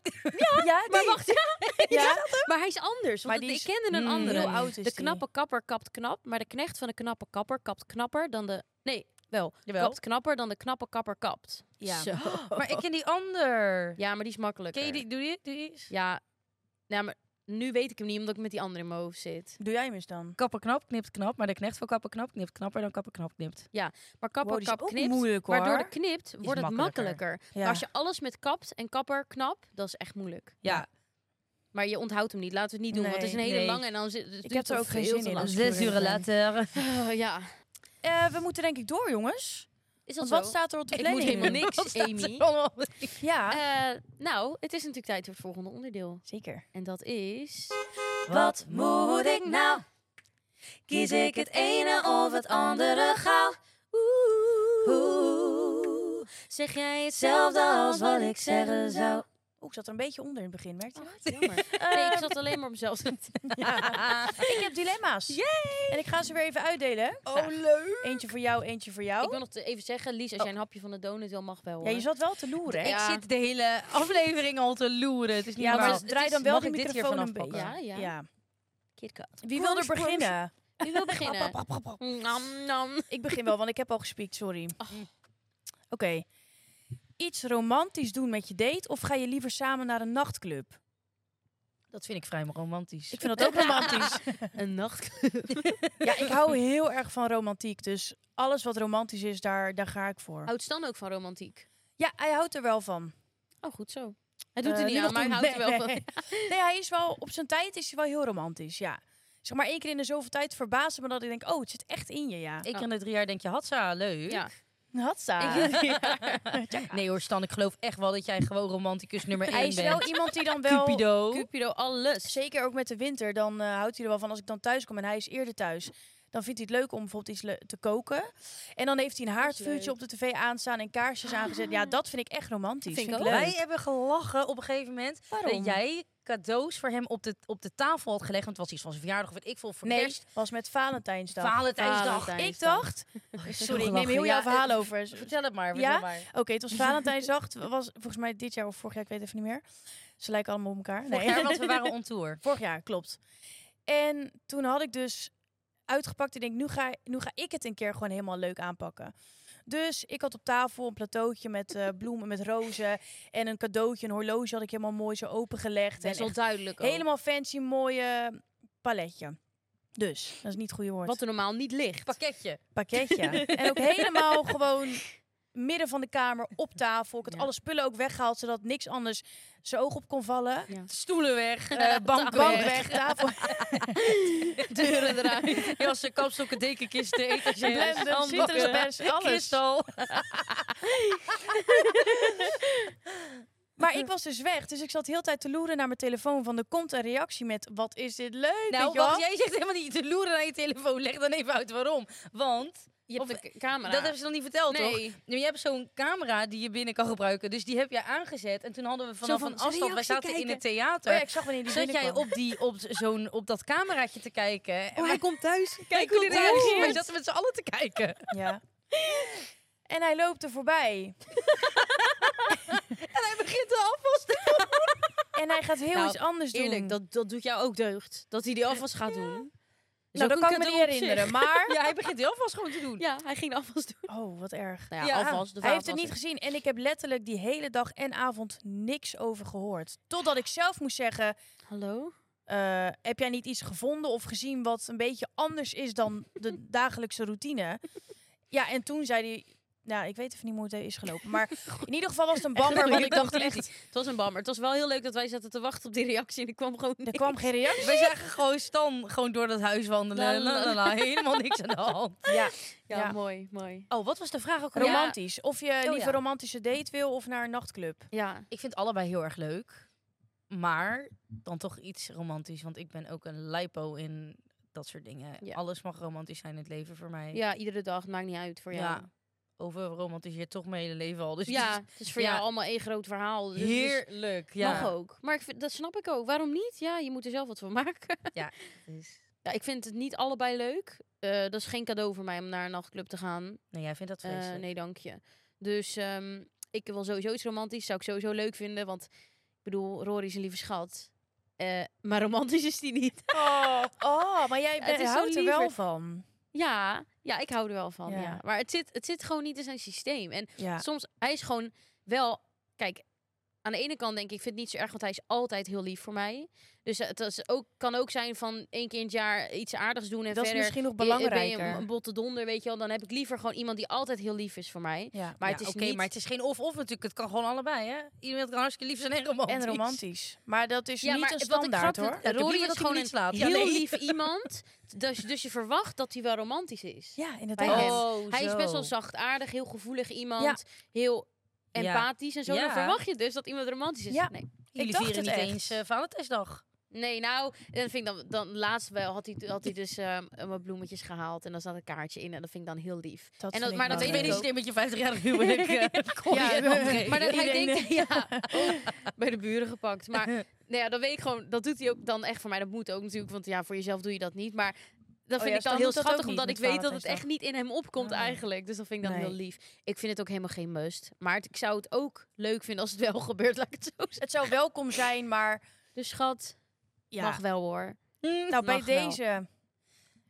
Speaker 1: Ja,
Speaker 4: maar
Speaker 1: die- [LAUGHS]
Speaker 4: wacht, ja.
Speaker 1: Ja?
Speaker 4: Maar hij is anders. Want
Speaker 1: Maar
Speaker 4: het-
Speaker 1: die is-
Speaker 4: ik kende een
Speaker 3: Mm.
Speaker 4: andere.
Speaker 1: Heel oud is
Speaker 4: de
Speaker 1: die.
Speaker 4: knappe kapper kapt knap, maar de knecht van de knappe kapper kapt knapper dan de... Nee, wel.
Speaker 3: Jawel.
Speaker 4: Kapt knapper dan de knappe kapper kapt.
Speaker 1: Ja.
Speaker 4: Zo.
Speaker 3: [LAUGHS] Maar ik ken die ander.
Speaker 4: Ja, maar die is makkelijker.
Speaker 3: Ken je die? Doe je? Doe je eens?
Speaker 4: Ja, nou, maar nu weet ik hem niet, omdat ik met die andere in mijn hoofd zit.
Speaker 1: Doe jij hem eens dan?
Speaker 3: Kapper knap, knipt knap. Maar de knecht van kapper knap, knipt knapper dan kapper knap knipt.
Speaker 4: Maar kapper
Speaker 1: Wow, die is
Speaker 4: kap
Speaker 1: ook
Speaker 4: knipt,
Speaker 1: moeilijk,
Speaker 4: maar door
Speaker 1: hoor.
Speaker 4: de knipt wordt het
Speaker 3: makkelijker.
Speaker 4: makkelijker.
Speaker 1: Ja.
Speaker 4: Maar Als je alles met kapt en kapper knap, dat is echt moeilijk.
Speaker 3: Ja.
Speaker 4: Maar je onthoudt hem niet. Laten we het niet doen, want het is een
Speaker 3: Nee,
Speaker 4: hele
Speaker 3: nee.
Speaker 4: lange en dan zit het
Speaker 1: heb
Speaker 4: duurt
Speaker 1: er
Speaker 4: het
Speaker 1: ook geen
Speaker 4: veel
Speaker 1: zin
Speaker 4: te
Speaker 1: in,
Speaker 4: lang.
Speaker 1: dus- Zes uren
Speaker 3: later.
Speaker 1: [LAUGHS]
Speaker 4: Eh, [LAUGHS] ja.
Speaker 1: Eh, we moeten denk ik door, jongens.
Speaker 4: Is dat
Speaker 1: Want
Speaker 4: zo?
Speaker 1: wat staat er op de
Speaker 4: ik moet
Speaker 1: planning?
Speaker 4: helemaal niks, Amy.
Speaker 1: Ja,
Speaker 4: Eh, nou, het is natuurlijk tijd voor het volgende onderdeel.
Speaker 1: zeker.
Speaker 4: En dat is...
Speaker 3: Wat moet ik nou?
Speaker 2: Kies ik het ene of het andere gauw? Oeh,
Speaker 4: Zeg jij
Speaker 2: hetzelfde als wat ik zeggen zou.
Speaker 1: Oeh, ik zat er een beetje onder in het begin, merkte je?
Speaker 4: Nee, ik zat alleen maar op mezelf. te letten.
Speaker 1: Ik heb dilemma's. En ik ga ze weer even uitdelen.
Speaker 3: Oh, leuk.
Speaker 1: Eentje voor jou, eentje voor
Speaker 4: Ik
Speaker 1: jou.
Speaker 4: wil nog te- even zeggen, Lies, als jij een hapje van de donut wil, mag wel.
Speaker 1: Oh? Ja, je
Speaker 4: hoor.
Speaker 1: zat wel te loeren, hè?
Speaker 4: Ja.
Speaker 3: Ik zit de hele aflevering al te loeren. Het is niet
Speaker 1: Ja, maar
Speaker 3: normaal.
Speaker 1: dus draai
Speaker 4: Het
Speaker 1: dan
Speaker 4: is-
Speaker 1: wel
Speaker 3: mag
Speaker 1: die
Speaker 3: ik dit hier
Speaker 1: microfoon
Speaker 3: vanaf
Speaker 1: een beetje.
Speaker 4: pakken? Ja, ja. KitKat.
Speaker 1: Wie wil er beginnen?
Speaker 4: Wie wil beginnen? Mm, nam, nam.
Speaker 1: Ik begin wel, want ik heb al gespiekt, sorry.
Speaker 4: [LAUGHS]
Speaker 1: Oké. Iets romantisch doen met je date of ga je liever samen naar een nachtclub?
Speaker 3: Dat vind ik vrij romantisch.
Speaker 1: Ik vind
Speaker 4: [LAUGHS]
Speaker 1: dat ook romantisch.
Speaker 4: Een nacht.
Speaker 1: Ja, ik
Speaker 4: [LAUGHS]
Speaker 1: hou heel erg van romantiek. Dus alles wat romantisch is, daar, daar ga ik voor.
Speaker 4: Houdt Stan ook van romantiek?
Speaker 1: Ja, hij houdt er wel van.
Speaker 4: Oh, goed zo. Hij doet
Speaker 1: Eh,
Speaker 4: er niet
Speaker 1: nu
Speaker 4: aan,
Speaker 1: nog
Speaker 4: maar hij
Speaker 1: doen.
Speaker 4: houdt er wel
Speaker 1: Nee,
Speaker 4: van. [LAUGHS]
Speaker 1: nee. [LAUGHS] Nee, hij is wel, op zijn tijd is hij wel heel romantisch, ja. Zeg maar één keer in de zoveel tijd verbazen me dat ik denk, oh, het zit echt in je, ja.
Speaker 3: Ik in de drie jaar denk je, Hatsa, leuk.
Speaker 4: Ja.
Speaker 1: Hatsa. [LAUGHS]
Speaker 3: [LAUGHS] Nee hoor, Stan, ik geloof echt wel dat jij gewoon romanticus nummer 1
Speaker 1: Hij is
Speaker 3: bent.
Speaker 1: wel iemand die dan wel...
Speaker 3: Cupido.
Speaker 4: Cupido, alles.
Speaker 1: Zeker ook met de winter, dan eh, houdt hij er wel van. Als ik dan thuis kom en hij is eerder thuis, dan vindt hij het leuk om bijvoorbeeld iets le- te koken. En dan heeft hij een haardvuurtje op de tv aanstaan en kaarsjes aangezet. Ja, dat vind ik echt romantisch.
Speaker 4: Vind ik
Speaker 1: ik
Speaker 4: ook.
Speaker 1: leuk.
Speaker 3: Wij hebben gelachen op een gegeven moment
Speaker 1: Waarom?
Speaker 3: dat jij cadeaus voor hem op de, op de tafel had gelegd. Want het was iets van zijn verjaardag of weet ik veel, voor
Speaker 1: Nee,
Speaker 3: kerst,
Speaker 1: was met Valentijnsdag.
Speaker 3: Valentijnsdag.
Speaker 1: ik dacht, sorry, ik neem heel jouw verhaal over. Oké,
Speaker 3: Vertel het maar,
Speaker 1: Ja?
Speaker 3: vertel maar.
Speaker 1: het was Valentijnsdag. Het was volgens mij dit jaar of vorig jaar, ik weet even niet meer. Ze lijken allemaal op elkaar.
Speaker 3: Vorig jaar, want we waren on tour.
Speaker 1: Vorig jaar, klopt. En toen had ik dus uitgepakt. Ik denk, nu ga, nu ga ik het een keer gewoon helemaal leuk aanpakken. Dus ik had op tafel een plateautje met
Speaker 4: [LAUGHS]
Speaker 1: eh, bloemen, met rozen. En een cadeautje, een horloge had ik helemaal mooi zo opengelegd.
Speaker 4: Best
Speaker 1: en
Speaker 4: wel
Speaker 1: echt
Speaker 4: duidelijk ook.
Speaker 1: helemaal fancy, mooie paletje. Dus, dat is niet het goede woord.
Speaker 4: Wat er normaal niet ligt.
Speaker 3: Pakketje.
Speaker 4: [LAUGHS]
Speaker 1: pakketje. en ook helemaal gewoon midden van de kamer op tafel. Ik had
Speaker 4: Ja.
Speaker 1: alle spullen ook weggehaald, zodat niks anders zijn oog op kon vallen.
Speaker 3: Stoelen [LAUGHS] weg, eh,
Speaker 1: bank,
Speaker 3: bank
Speaker 1: bank
Speaker 3: weg,
Speaker 1: weg, tafel
Speaker 3: [LAUGHS] deuren [LAUGHS] eruit. Jassen, kapstokken, dekenkisten, etentjes,
Speaker 1: Blender,
Speaker 3: handdoeken,
Speaker 1: citruspers, alles.
Speaker 3: kristal.
Speaker 1: Maar ik was dus weg, dus ik zat heel de tijd te loeren naar mijn telefoon van er komt een reactie met wat is dit leuk, weet
Speaker 3: Nou,
Speaker 1: je wel?
Speaker 3: wacht, jij zegt helemaal niet te loeren naar je telefoon. Leg dan even uit waarom. Want,
Speaker 4: Je hebt
Speaker 3: Of-
Speaker 4: de k- camera.
Speaker 3: dat hebben ze nog niet verteld, toch?
Speaker 4: nee.
Speaker 3: Nu, Nou, je hebt zo'n camera die je binnen kan gebruiken. Dus die heb jij aangezet. En toen hadden we vanaf
Speaker 4: van,
Speaker 3: een afstand... Wij
Speaker 4: reactie
Speaker 3: zaten in
Speaker 4: kijken.
Speaker 3: het theater.
Speaker 1: Oh ja, ik zag wanneer die
Speaker 3: Zat jij
Speaker 1: binnenkwam.
Speaker 3: op, die, op, zo'n, op dat cameraatje te kijken. En wij-
Speaker 4: komt thuis.
Speaker 3: Kijk Oh, hoe die reageert. Wij zaten met z'n allen te kijken.
Speaker 1: Ja. En hij loopt er voorbij.
Speaker 3: [LAUGHS] En hij begint de afwas te
Speaker 1: En hij gaat heel
Speaker 4: Nou,
Speaker 1: iets anders doen.
Speaker 4: Eerlijk, dat, dat doet jou ook deugd. Dat hij die alvast gaat doen.
Speaker 1: nou, dat kan ik me niet herinneren.
Speaker 3: [LAUGHS]
Speaker 1: Maar,
Speaker 3: [LAUGHS] Ja, hij begint de afwas gewoon te doen.
Speaker 4: Ja, hij ging de afwas doen.
Speaker 1: oh, wat erg.
Speaker 4: Nou
Speaker 3: Ja.
Speaker 4: alvast. de
Speaker 1: Hij heeft het niet
Speaker 4: vaatwasser.
Speaker 1: gezien en ik heb letterlijk die hele dag en avond niks over gehoord. Totdat ik zelf moest zeggen,
Speaker 4: Hallo?
Speaker 1: eh, heb jij niet iets gevonden of gezien wat een beetje anders is dan de
Speaker 4: [LAUGHS]
Speaker 1: dagelijkse routine? Ja, en toen zei hij, nou, ik weet even niet hoe het is gelopen,
Speaker 4: [LAUGHS]
Speaker 1: maar in ieder geval was het een bammer, want ik dacht echt,
Speaker 4: Het was een bammer. Het was wel heel leuk dat wij zaten te wachten op die reactie en er kwam gewoon
Speaker 1: er kwam geen reactie.
Speaker 3: Wij zagen gewoon Stan gewoon door dat huis
Speaker 4: La,
Speaker 3: wandelen.
Speaker 4: la,
Speaker 3: La, la, la. helemaal niks aan de hand.
Speaker 1: Ja,
Speaker 4: [LAUGHS] Ja,
Speaker 1: Ja.
Speaker 4: mooi, mooi.
Speaker 3: Oh, wat was de vraag ook
Speaker 4: alweer? Oh,
Speaker 1: romantisch. Of je liever
Speaker 3: ja.
Speaker 1: een romantische date wil of naar een nachtclub.
Speaker 4: Ja.
Speaker 3: Ik vind allebei heel erg leuk. Maar dan toch iets romantisch. Want ik ben ook een lipo in dat soort dingen.
Speaker 4: Ja.
Speaker 3: Alles mag romantisch zijn in het leven voor mij.
Speaker 4: ja, iedere dag. Het maakt niet uit voor jou.
Speaker 3: Ja. Over romantiseer toch mijn hele leven al. Dus
Speaker 4: Ja,
Speaker 3: het
Speaker 4: het is voor
Speaker 3: ja.
Speaker 4: jou allemaal één groot verhaal. Dus
Speaker 3: is
Speaker 4: het is-
Speaker 3: heerlijk. Ja.
Speaker 4: Mag ook. Maar ik vind, dat snap ik ook. Waarom niet? Ja, je moet er zelf wat van maken. [LAUGHS]
Speaker 3: Dus-
Speaker 4: Ja, ik vind het niet allebei leuk. Eh, dat is geen cadeau voor mij om naar een nachtclub te gaan.
Speaker 3: Nee, jij vindt dat
Speaker 4: Eh,
Speaker 3: vreselijk.
Speaker 4: nee, dank je. Dus ehm, ik wil sowieso iets romantisch. Zou ik sowieso leuk vinden. Want ik bedoel, Rory is een lieve schat. Eh, maar romantisch is die niet.
Speaker 1: [LAUGHS] Oh, oh maar jij
Speaker 4: Het
Speaker 1: bent-
Speaker 4: is zo
Speaker 1: houdt er wel
Speaker 4: lieverd.
Speaker 1: van.
Speaker 4: Ja, ja, ik hou er wel van.
Speaker 1: Ja.
Speaker 4: Ja. Maar het zit, het zit gewoon niet in zijn systeem. En
Speaker 1: Ja.
Speaker 4: soms, hij is gewoon wel... Kijk, aan de ene kant denk ik, ik vind het niet zo erg, want hij is altijd heel lief voor mij. Dus het is ook, kan ook zijn van één keer in het jaar iets aardigs doen en
Speaker 1: Dat is
Speaker 4: verder...
Speaker 1: misschien nog
Speaker 4: Ben je een-
Speaker 1: belangrijker.
Speaker 4: een botte donder, weet je wel. Dan heb ik liever gewoon iemand die altijd heel lief is voor mij.
Speaker 1: Ja.
Speaker 4: Maar
Speaker 3: Ja,
Speaker 4: het is
Speaker 3: oké,
Speaker 4: niet...
Speaker 3: maar het is geen of-of natuurlijk. Het kan gewoon allebei, hè? Iemand kan hartstikke lief zijn en romantisch.
Speaker 1: En romantisch. Maar dat is
Speaker 4: Ja,
Speaker 1: niet
Speaker 4: maar
Speaker 1: een
Speaker 4: wat ik
Speaker 1: standaard,
Speaker 4: grappig-
Speaker 1: hoor.
Speaker 3: Ja, ik heb
Speaker 4: Rory
Speaker 3: liever
Speaker 4: is
Speaker 3: dat hij me
Speaker 4: gewoon
Speaker 3: niet
Speaker 4: een
Speaker 3: slaapt. Ja,
Speaker 4: heel
Speaker 3: nee.
Speaker 1: [LAUGHS]
Speaker 4: lief iemand. Dus, dus je verwacht dat hij wel romantisch is.
Speaker 1: Ja,
Speaker 4: bij
Speaker 1: inderdaad.
Speaker 4: hem.
Speaker 3: Oh,
Speaker 4: hij is
Speaker 3: zo.
Speaker 4: best wel zachtaardig, heel gevoelig iemand. Heel
Speaker 3: Ja.
Speaker 4: empathisch en zo. Dan
Speaker 3: Ja.
Speaker 4: verwacht je dus dat iemand romantisch is.
Speaker 1: Ja.
Speaker 4: Nee.
Speaker 3: Jullie
Speaker 1: Ik dacht
Speaker 3: vieren
Speaker 1: het
Speaker 3: niet
Speaker 1: echt.
Speaker 3: eens eh, Valentijnsdag.
Speaker 4: Nee, nou, dat vind ik dan, dan laatst wel had hij, had hij dus ehm wat bloemetjes gehaald en dan zat een kaartje in en dat vind ik dan heel lief.
Speaker 1: Dat
Speaker 4: en
Speaker 1: vind ik
Speaker 4: maar
Speaker 1: wel
Speaker 4: dat
Speaker 1: leuk.
Speaker 4: weet
Speaker 1: Ik
Speaker 4: ik
Speaker 1: weet
Speaker 3: niet
Speaker 4: ook.
Speaker 3: met je 50-jarig
Speaker 4: [LAUGHS]
Speaker 3: huwelijk. eh,
Speaker 4: Oh,
Speaker 3: ja,
Speaker 4: maar dat hij
Speaker 1: Iedereen,
Speaker 4: denkt, [LAUGHS] ja, bij de buren gepakt. [LAUGHS] Maar nou ja, dan weet ik gewoon, dat doet hij ook dan echt voor mij. Dat moet ook natuurlijk, want ja, voor jezelf doe je dat niet. Maar dat
Speaker 1: Oh ja,
Speaker 4: vind ik dan
Speaker 1: Stan
Speaker 4: heel
Speaker 1: doet dat
Speaker 4: schattig,
Speaker 1: ook niet
Speaker 4: omdat ik
Speaker 1: met
Speaker 4: weet dat het echt
Speaker 1: Valentijnsdag.
Speaker 4: niet in hem opkomt
Speaker 1: Ah.
Speaker 4: eigenlijk. Dus dat vind ik dan
Speaker 1: Nee.
Speaker 4: heel lief. Ik vind het ook helemaal geen must. Maar het- ik zou het ook leuk vinden als het wel [LAUGHS] gebeurt, laat ik het zo zeggen.
Speaker 1: Het zou welkom zijn, maar...
Speaker 4: Dus schat,
Speaker 1: Ja.
Speaker 4: mag wel hoor.
Speaker 1: nou, bij
Speaker 4: mag wel.
Speaker 1: deze,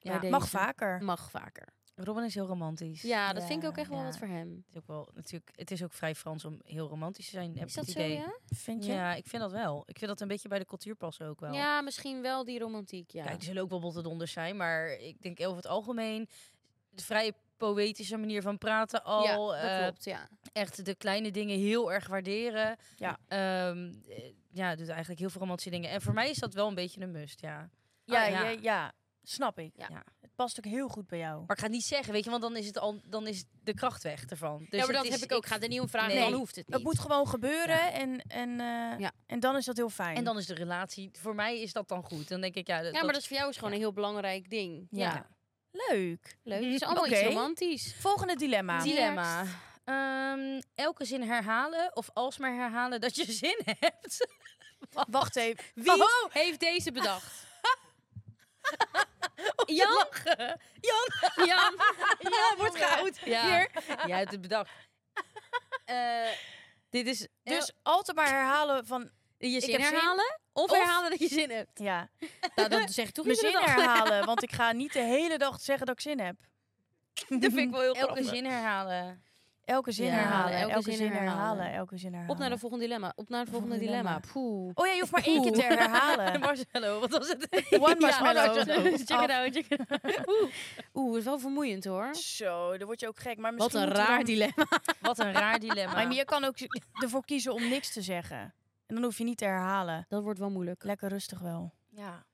Speaker 4: Bij deze. Oh,
Speaker 1: mag vaker.
Speaker 4: Mag vaker.
Speaker 3: [LAUGHS] Robin is heel romantisch.
Speaker 4: Hmm. Ja, dat
Speaker 1: Ja,
Speaker 4: vind ik ook echt wel
Speaker 3: ja.
Speaker 4: wat voor hem.
Speaker 3: Het is, ook wel, natuurlijk, het is ook vrij Frans om heel romantisch te zijn. Heb ik
Speaker 4: Is dat
Speaker 3: het
Speaker 4: zo,
Speaker 3: idee.
Speaker 4: ja?
Speaker 1: Vind je?
Speaker 3: Ja, ik vind dat wel. Ik vind dat een beetje bij de cultuur passen ook wel.
Speaker 4: Ja, misschien wel die romantiek, ja.
Speaker 3: Kijk, er zullen ook wel botte donders zijn, maar ik denk over het algemeen de vrij poëtische manier van praten al.
Speaker 4: ja, dat
Speaker 3: eh,
Speaker 4: klopt, ja.
Speaker 3: echt de kleine dingen heel erg waarderen.
Speaker 1: Ja.
Speaker 3: Ehm, eh, ja, doet eigenlijk heel veel romantische dingen. En voor mij is dat wel een beetje een must, ja.
Speaker 1: Ja,
Speaker 3: Oh, ja.
Speaker 1: ja, ja, snap ik.
Speaker 4: Ja.
Speaker 3: Ja.
Speaker 1: Het past ook heel goed bij jou.
Speaker 3: Maar ik ga het niet zeggen, weet je, want dan is, het al, dan is de kracht weg ervan. Dus
Speaker 4: ja, maar
Speaker 3: het
Speaker 4: dat
Speaker 3: is-
Speaker 4: heb ik ook. Gaat er niet om vragen,
Speaker 3: Nee.
Speaker 4: dan hoeft het niet.
Speaker 1: Het moet gewoon gebeuren en, en, eh,
Speaker 4: Ja.
Speaker 1: en dan is dat heel fijn.
Speaker 3: En dan is de relatie, voor mij is dat dan goed. Dan denk ik, ja, dat,
Speaker 4: ja, maar dat is voor jou is gewoon een heel belangrijk ding.
Speaker 1: ja. Leuk.
Speaker 4: Leuk. Het is allemaal
Speaker 1: Oké.
Speaker 4: iets romantisch.
Speaker 1: Volgende dilemma.
Speaker 3: dilemma. Ehm, elke zin herhalen of alsmaar herhalen dat je [LAUGHS] zin hebt.
Speaker 1: Wacht even.
Speaker 4: Wie heeft deze [LAUGHS] bedacht? Jan? Jan? [LAUGHS] Jan?
Speaker 1: [LAUGHS] Ja, wordt goud.
Speaker 4: Ja.
Speaker 1: Hier.
Speaker 3: Jij hebt het bedacht. Eh, dit is
Speaker 1: Dus altijd maar herhalen van...
Speaker 4: Je zin
Speaker 1: heb zin.
Speaker 4: herhalen? Of,
Speaker 1: Of-
Speaker 4: herhalen dat je zin hebt?
Speaker 1: Ja,
Speaker 4: [LAUGHS] Nou, dat zeg ik toch
Speaker 1: mijn
Speaker 4: iedere
Speaker 1: zin
Speaker 4: dag.
Speaker 1: herhalen. Want ik ga niet de hele dag zeggen dat ik zin heb.
Speaker 4: Dat vind ik wel heel
Speaker 3: elke
Speaker 4: grappig.
Speaker 3: zin herhalen.
Speaker 1: Elke zin
Speaker 4: Ja,
Speaker 1: herhalen.
Speaker 4: elke
Speaker 1: Elke,
Speaker 4: zin
Speaker 1: zin,
Speaker 4: herhalen.
Speaker 1: herhalen. Elke zin herhalen.
Speaker 4: Op naar de volgende dilemma. Op naar de volgende
Speaker 1: volgende
Speaker 4: dilemma.
Speaker 1: dilemma.
Speaker 4: Poeh.
Speaker 1: Oh ja, je hoeft maar één keer te herhalen.
Speaker 3: Marcello, wat was het?
Speaker 1: One
Speaker 4: [LAUGHS] [LAUGHS] Ja, oh, nou,
Speaker 1: marshmallow.
Speaker 4: check [LAUGHS] it out. Check it out. Oeh. Oeh, het is wel vermoeiend hoor.
Speaker 1: Zo, dan word je ook gek. Maar
Speaker 4: Wat
Speaker 1: misschien
Speaker 4: een
Speaker 1: moeten we
Speaker 4: raar
Speaker 1: dan-
Speaker 4: dilemma.
Speaker 3: Wat een raar dilemma.
Speaker 1: Maar je kan ook [LAUGHS] ervoor kiezen om niks te zeggen. En dan hoef je niet te herhalen.
Speaker 4: Dat wordt wel moeilijk.
Speaker 1: Lekker rustig wel.
Speaker 3: ja.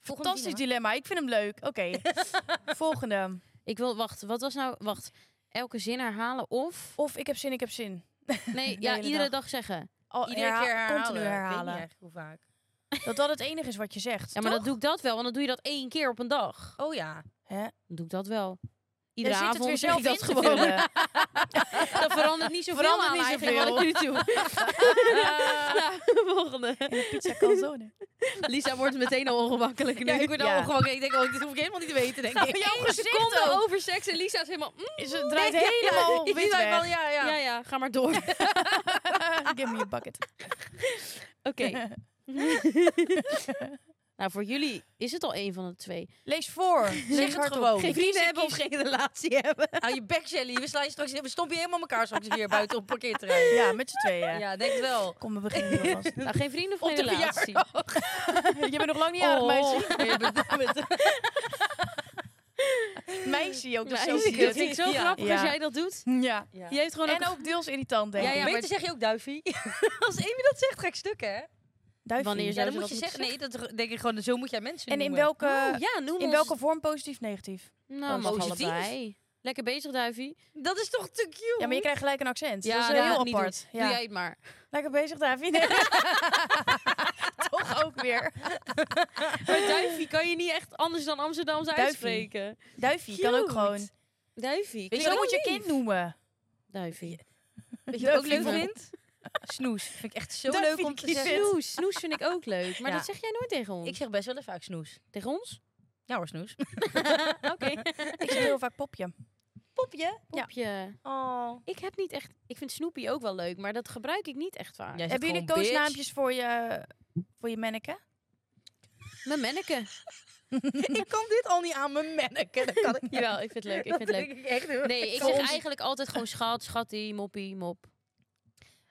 Speaker 1: Fantastisch dilemma. Ik vind hem leuk. Oké.
Speaker 4: [LAUGHS]
Speaker 1: Volgende.
Speaker 4: Ik wil, wacht, wat was nou, wacht. Elke zin herhalen of...
Speaker 1: Of ik heb zin, ik heb zin.
Speaker 4: [LAUGHS] Nee,
Speaker 1: De
Speaker 4: ja,
Speaker 1: hele
Speaker 4: iedere
Speaker 1: dag.
Speaker 4: dag zeggen.
Speaker 1: Al,
Speaker 3: Iedere keer herhalen.
Speaker 1: Continu
Speaker 3: Ik weet niet
Speaker 1: herhalen.
Speaker 3: echt hoe vaak.
Speaker 1: Dat dat het enige is wat je zegt.
Speaker 4: Ja, maar dan doe ik dat wel, want dan doe je dat één keer op een dag.
Speaker 3: Oh ja.
Speaker 1: Hè?
Speaker 4: Dan doe ik dat wel. Iedere
Speaker 1: Jij zit het
Speaker 4: avond
Speaker 1: weer
Speaker 4: zeg ik
Speaker 1: zelf in
Speaker 4: dat
Speaker 1: te
Speaker 4: gewoon. [LAUGHS]
Speaker 1: vullen.
Speaker 4: Dat verandert niet zoveel
Speaker 1: Verandert
Speaker 4: aan
Speaker 1: niet
Speaker 4: eigenlijk
Speaker 1: zoveel.
Speaker 4: wat ik nu doe. [LAUGHS] Nou, volgende.
Speaker 1: Pizza calzone.
Speaker 4: Lisa wordt meteen al ongemakkelijk nu.
Speaker 3: Ja, ik word al
Speaker 1: Ja.
Speaker 3: ongemakkelijk. Ik denk, oh, dit hoef ik helemaal niet te weten,
Speaker 4: Oh,
Speaker 3: denk
Speaker 4: [LAUGHS]
Speaker 3: ik.
Speaker 1: jouw gezicht
Speaker 4: Seconde
Speaker 1: ook.
Speaker 4: over seks en Lisa is helemaal... mm,
Speaker 1: Is het
Speaker 4: [LAUGHS]
Speaker 1: draait
Speaker 3: Ja, ja,
Speaker 1: helemaal
Speaker 3: ik
Speaker 1: wit
Speaker 3: dacht wel,
Speaker 1: weg.
Speaker 3: ja, ja.
Speaker 4: ja, ja, ga maar [LAUGHS] door. Oké.
Speaker 1: Give me a bucket.
Speaker 4: [LAUGHS] nou, voor jullie is het al één van de twee.
Speaker 1: Lees
Speaker 3: [LAUGHS]
Speaker 1: voor.
Speaker 3: Zeg
Speaker 1: Lees
Speaker 3: het
Speaker 1: hardop.
Speaker 3: gewoon.
Speaker 4: Geen vrienden hebben of geen relatie
Speaker 3: [LAUGHS]
Speaker 4: hebben.
Speaker 3: Hou Nou, je bek, Shelly. We slaan je straks we stompen je helemaal elkaar straks hier buiten op parkeerterrein.
Speaker 1: eh, Ja, met z'n tweeën.
Speaker 3: Ja, denk het wel.
Speaker 1: Kom, we beginnen weer
Speaker 4: [LAUGHS]
Speaker 1: vast.
Speaker 4: Nou, geen vrienden of geen
Speaker 3: de
Speaker 4: relatie.
Speaker 1: Je bent nog lang niet jarig,
Speaker 4: Oh.
Speaker 1: meisje. Meisje ook, dat is
Speaker 4: Nou,
Speaker 1: zo
Speaker 4: ik-
Speaker 1: cute.
Speaker 4: dat vind ik zo
Speaker 3: Ja.
Speaker 4: grappig als
Speaker 1: Ja.
Speaker 4: jij dat doet.
Speaker 1: Ja.
Speaker 4: Je heeft gewoon
Speaker 1: En ook deels irritant, denk
Speaker 4: Ja,
Speaker 1: ik.
Speaker 4: ja,
Speaker 3: Beter
Speaker 4: maar-
Speaker 3: zeg je ook duifie. Als Amy dat zegt, ga ik stuk, hè?
Speaker 1: Duifje.
Speaker 4: Wanneer
Speaker 3: Ja,
Speaker 4: Zou
Speaker 3: dan
Speaker 4: ze
Speaker 3: moet
Speaker 4: dat
Speaker 3: je
Speaker 4: moeten
Speaker 3: zeggen. Nee, dat denk ik gewoon, zo moet jij mensen
Speaker 1: En in
Speaker 3: noemen.
Speaker 1: welke,
Speaker 4: Oh, ja, noem
Speaker 1: in
Speaker 4: ons-
Speaker 1: welke vorm positief, negatief?
Speaker 4: Nou, mag
Speaker 3: Positief.
Speaker 4: allebei. Lekker bezig, Duivie.
Speaker 3: Dat is toch te cute?
Speaker 1: Ja, maar je krijgt gelijk een accent.
Speaker 4: Ja,
Speaker 1: dat is
Speaker 4: dat
Speaker 1: eh,
Speaker 4: ga ik
Speaker 1: heel
Speaker 4: niet
Speaker 1: apart.
Speaker 4: Doe
Speaker 1: Ja.
Speaker 4: jij het maar.
Speaker 1: Lekker bezig, David. [LAUGHS] Nee. Toch ook weer.
Speaker 4: Maar Duivie kan je niet echt anders dan Amsterdamse
Speaker 1: Duivie.
Speaker 4: uitspreken.
Speaker 1: Duifje kan ook
Speaker 4: Cute.
Speaker 1: gewoon.
Speaker 4: Duivie.
Speaker 1: Zo moet je kind noemen.
Speaker 4: Duivie.
Speaker 3: Weet je wat ik ook leuk
Speaker 1: Duifie.
Speaker 3: vind? Snoes. Vind ik echt zo
Speaker 1: Duifie
Speaker 3: leuk om te
Speaker 1: kiezen.
Speaker 3: zeggen.
Speaker 4: Snoes. Snoes vind ik ook leuk. Maar
Speaker 3: Ja.
Speaker 4: dat zeg jij nooit tegen ons.
Speaker 3: Ik zeg best wel even vaak snoes.
Speaker 4: tegen ons? [LAUGHS]
Speaker 3: Ja hoor, snoes.
Speaker 4: Oké.
Speaker 1: Ik zeg heel vaak popje.
Speaker 3: Popje.
Speaker 4: Popje.
Speaker 3: Oh.
Speaker 4: Ik heb niet echt... Ik vind Snoopy ook wel leuk, maar dat gebruik ik niet echt vaak.
Speaker 3: Jij zegt
Speaker 1: Hebben jullie
Speaker 3: gewoon bitch.
Speaker 1: koosnaampjes voor je, voor je manneken?
Speaker 4: Mijn menneke.
Speaker 3: ik kan dit al niet aan mijn manneken. Dat kan ik niet.
Speaker 4: Jawel, ik vind het leuk. Ik vind het leuk.
Speaker 3: denk ik echt heel
Speaker 4: Nee, ik
Speaker 3: Voor
Speaker 4: zeg
Speaker 3: ons-
Speaker 4: eigenlijk altijd gewoon schat, schattie, moppie, mop.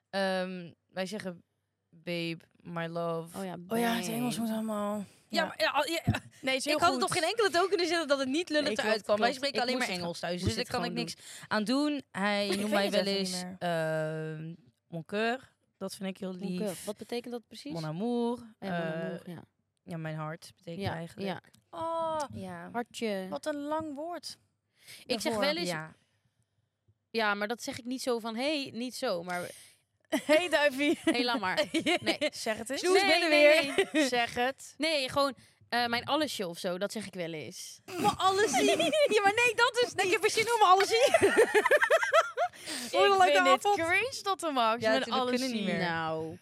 Speaker 3: Ehm, wij zeggen babe, my love.
Speaker 4: Oh ja,
Speaker 1: Oh ja, het Engels moet allemaal.
Speaker 3: Ja, maar ja, al- ja,
Speaker 1: Nee, het is heel
Speaker 3: ik had het
Speaker 1: goed.
Speaker 3: op geen enkele toon kunnen zetten dat het niet lullig
Speaker 4: Nee, klopt,
Speaker 3: eruit kwam. Wij
Speaker 4: klopt.
Speaker 3: spreken
Speaker 4: Ik
Speaker 3: alleen
Speaker 4: moest
Speaker 3: maar
Speaker 4: het
Speaker 3: Engels thuis,
Speaker 4: ik
Speaker 3: dus
Speaker 4: moest
Speaker 3: daar kan ik
Speaker 4: het
Speaker 3: niks aan doen. Hij noemt mij
Speaker 1: het
Speaker 3: wel
Speaker 1: even niet
Speaker 3: eens ehm mon coeur. Dat vind ik heel
Speaker 4: Oké,
Speaker 3: lief.
Speaker 4: Wat betekent dat precies?
Speaker 3: Mon amour.
Speaker 4: Ja, mon amour,
Speaker 3: eh,
Speaker 4: ja.
Speaker 3: ja, mijn hart betekent
Speaker 4: Ja,
Speaker 3: eigenlijk.
Speaker 4: ja.
Speaker 1: Oh,
Speaker 3: Ja.
Speaker 4: Hartje.
Speaker 1: wat een lang woord.
Speaker 4: ik zeg
Speaker 1: daarvoor.
Speaker 4: wel eens... Ja.
Speaker 3: Ja.
Speaker 4: maar dat zeg ik niet zo van... hey, niet zo, [LAUGHS] maar...
Speaker 1: [LAUGHS] hey, Duivie.
Speaker 4: hey, laat maar. Nee. [LAUGHS]
Speaker 1: Zeg het eens.
Speaker 4: Snoes,
Speaker 1: Nee,
Speaker 4: ben er
Speaker 1: nee, nee.
Speaker 4: [LAUGHS]
Speaker 1: Zeg het.
Speaker 4: Nee, gewoon eh, mijn allesje of zo. Dat zeg ik wel eens.
Speaker 3: Maar alles zien. [LAUGHS] ja, maar nee, dat is. Nee, ik heb er zin om alles zien. Voor een
Speaker 1: ik
Speaker 3: leuke
Speaker 1: vind dit
Speaker 3: avond.
Speaker 1: cringe tot de max.
Speaker 3: Ja,
Speaker 1: met
Speaker 3: natuurlijk
Speaker 1: alles
Speaker 3: kunnen niet
Speaker 1: zien.
Speaker 3: meer.
Speaker 4: [GASPS] Nou,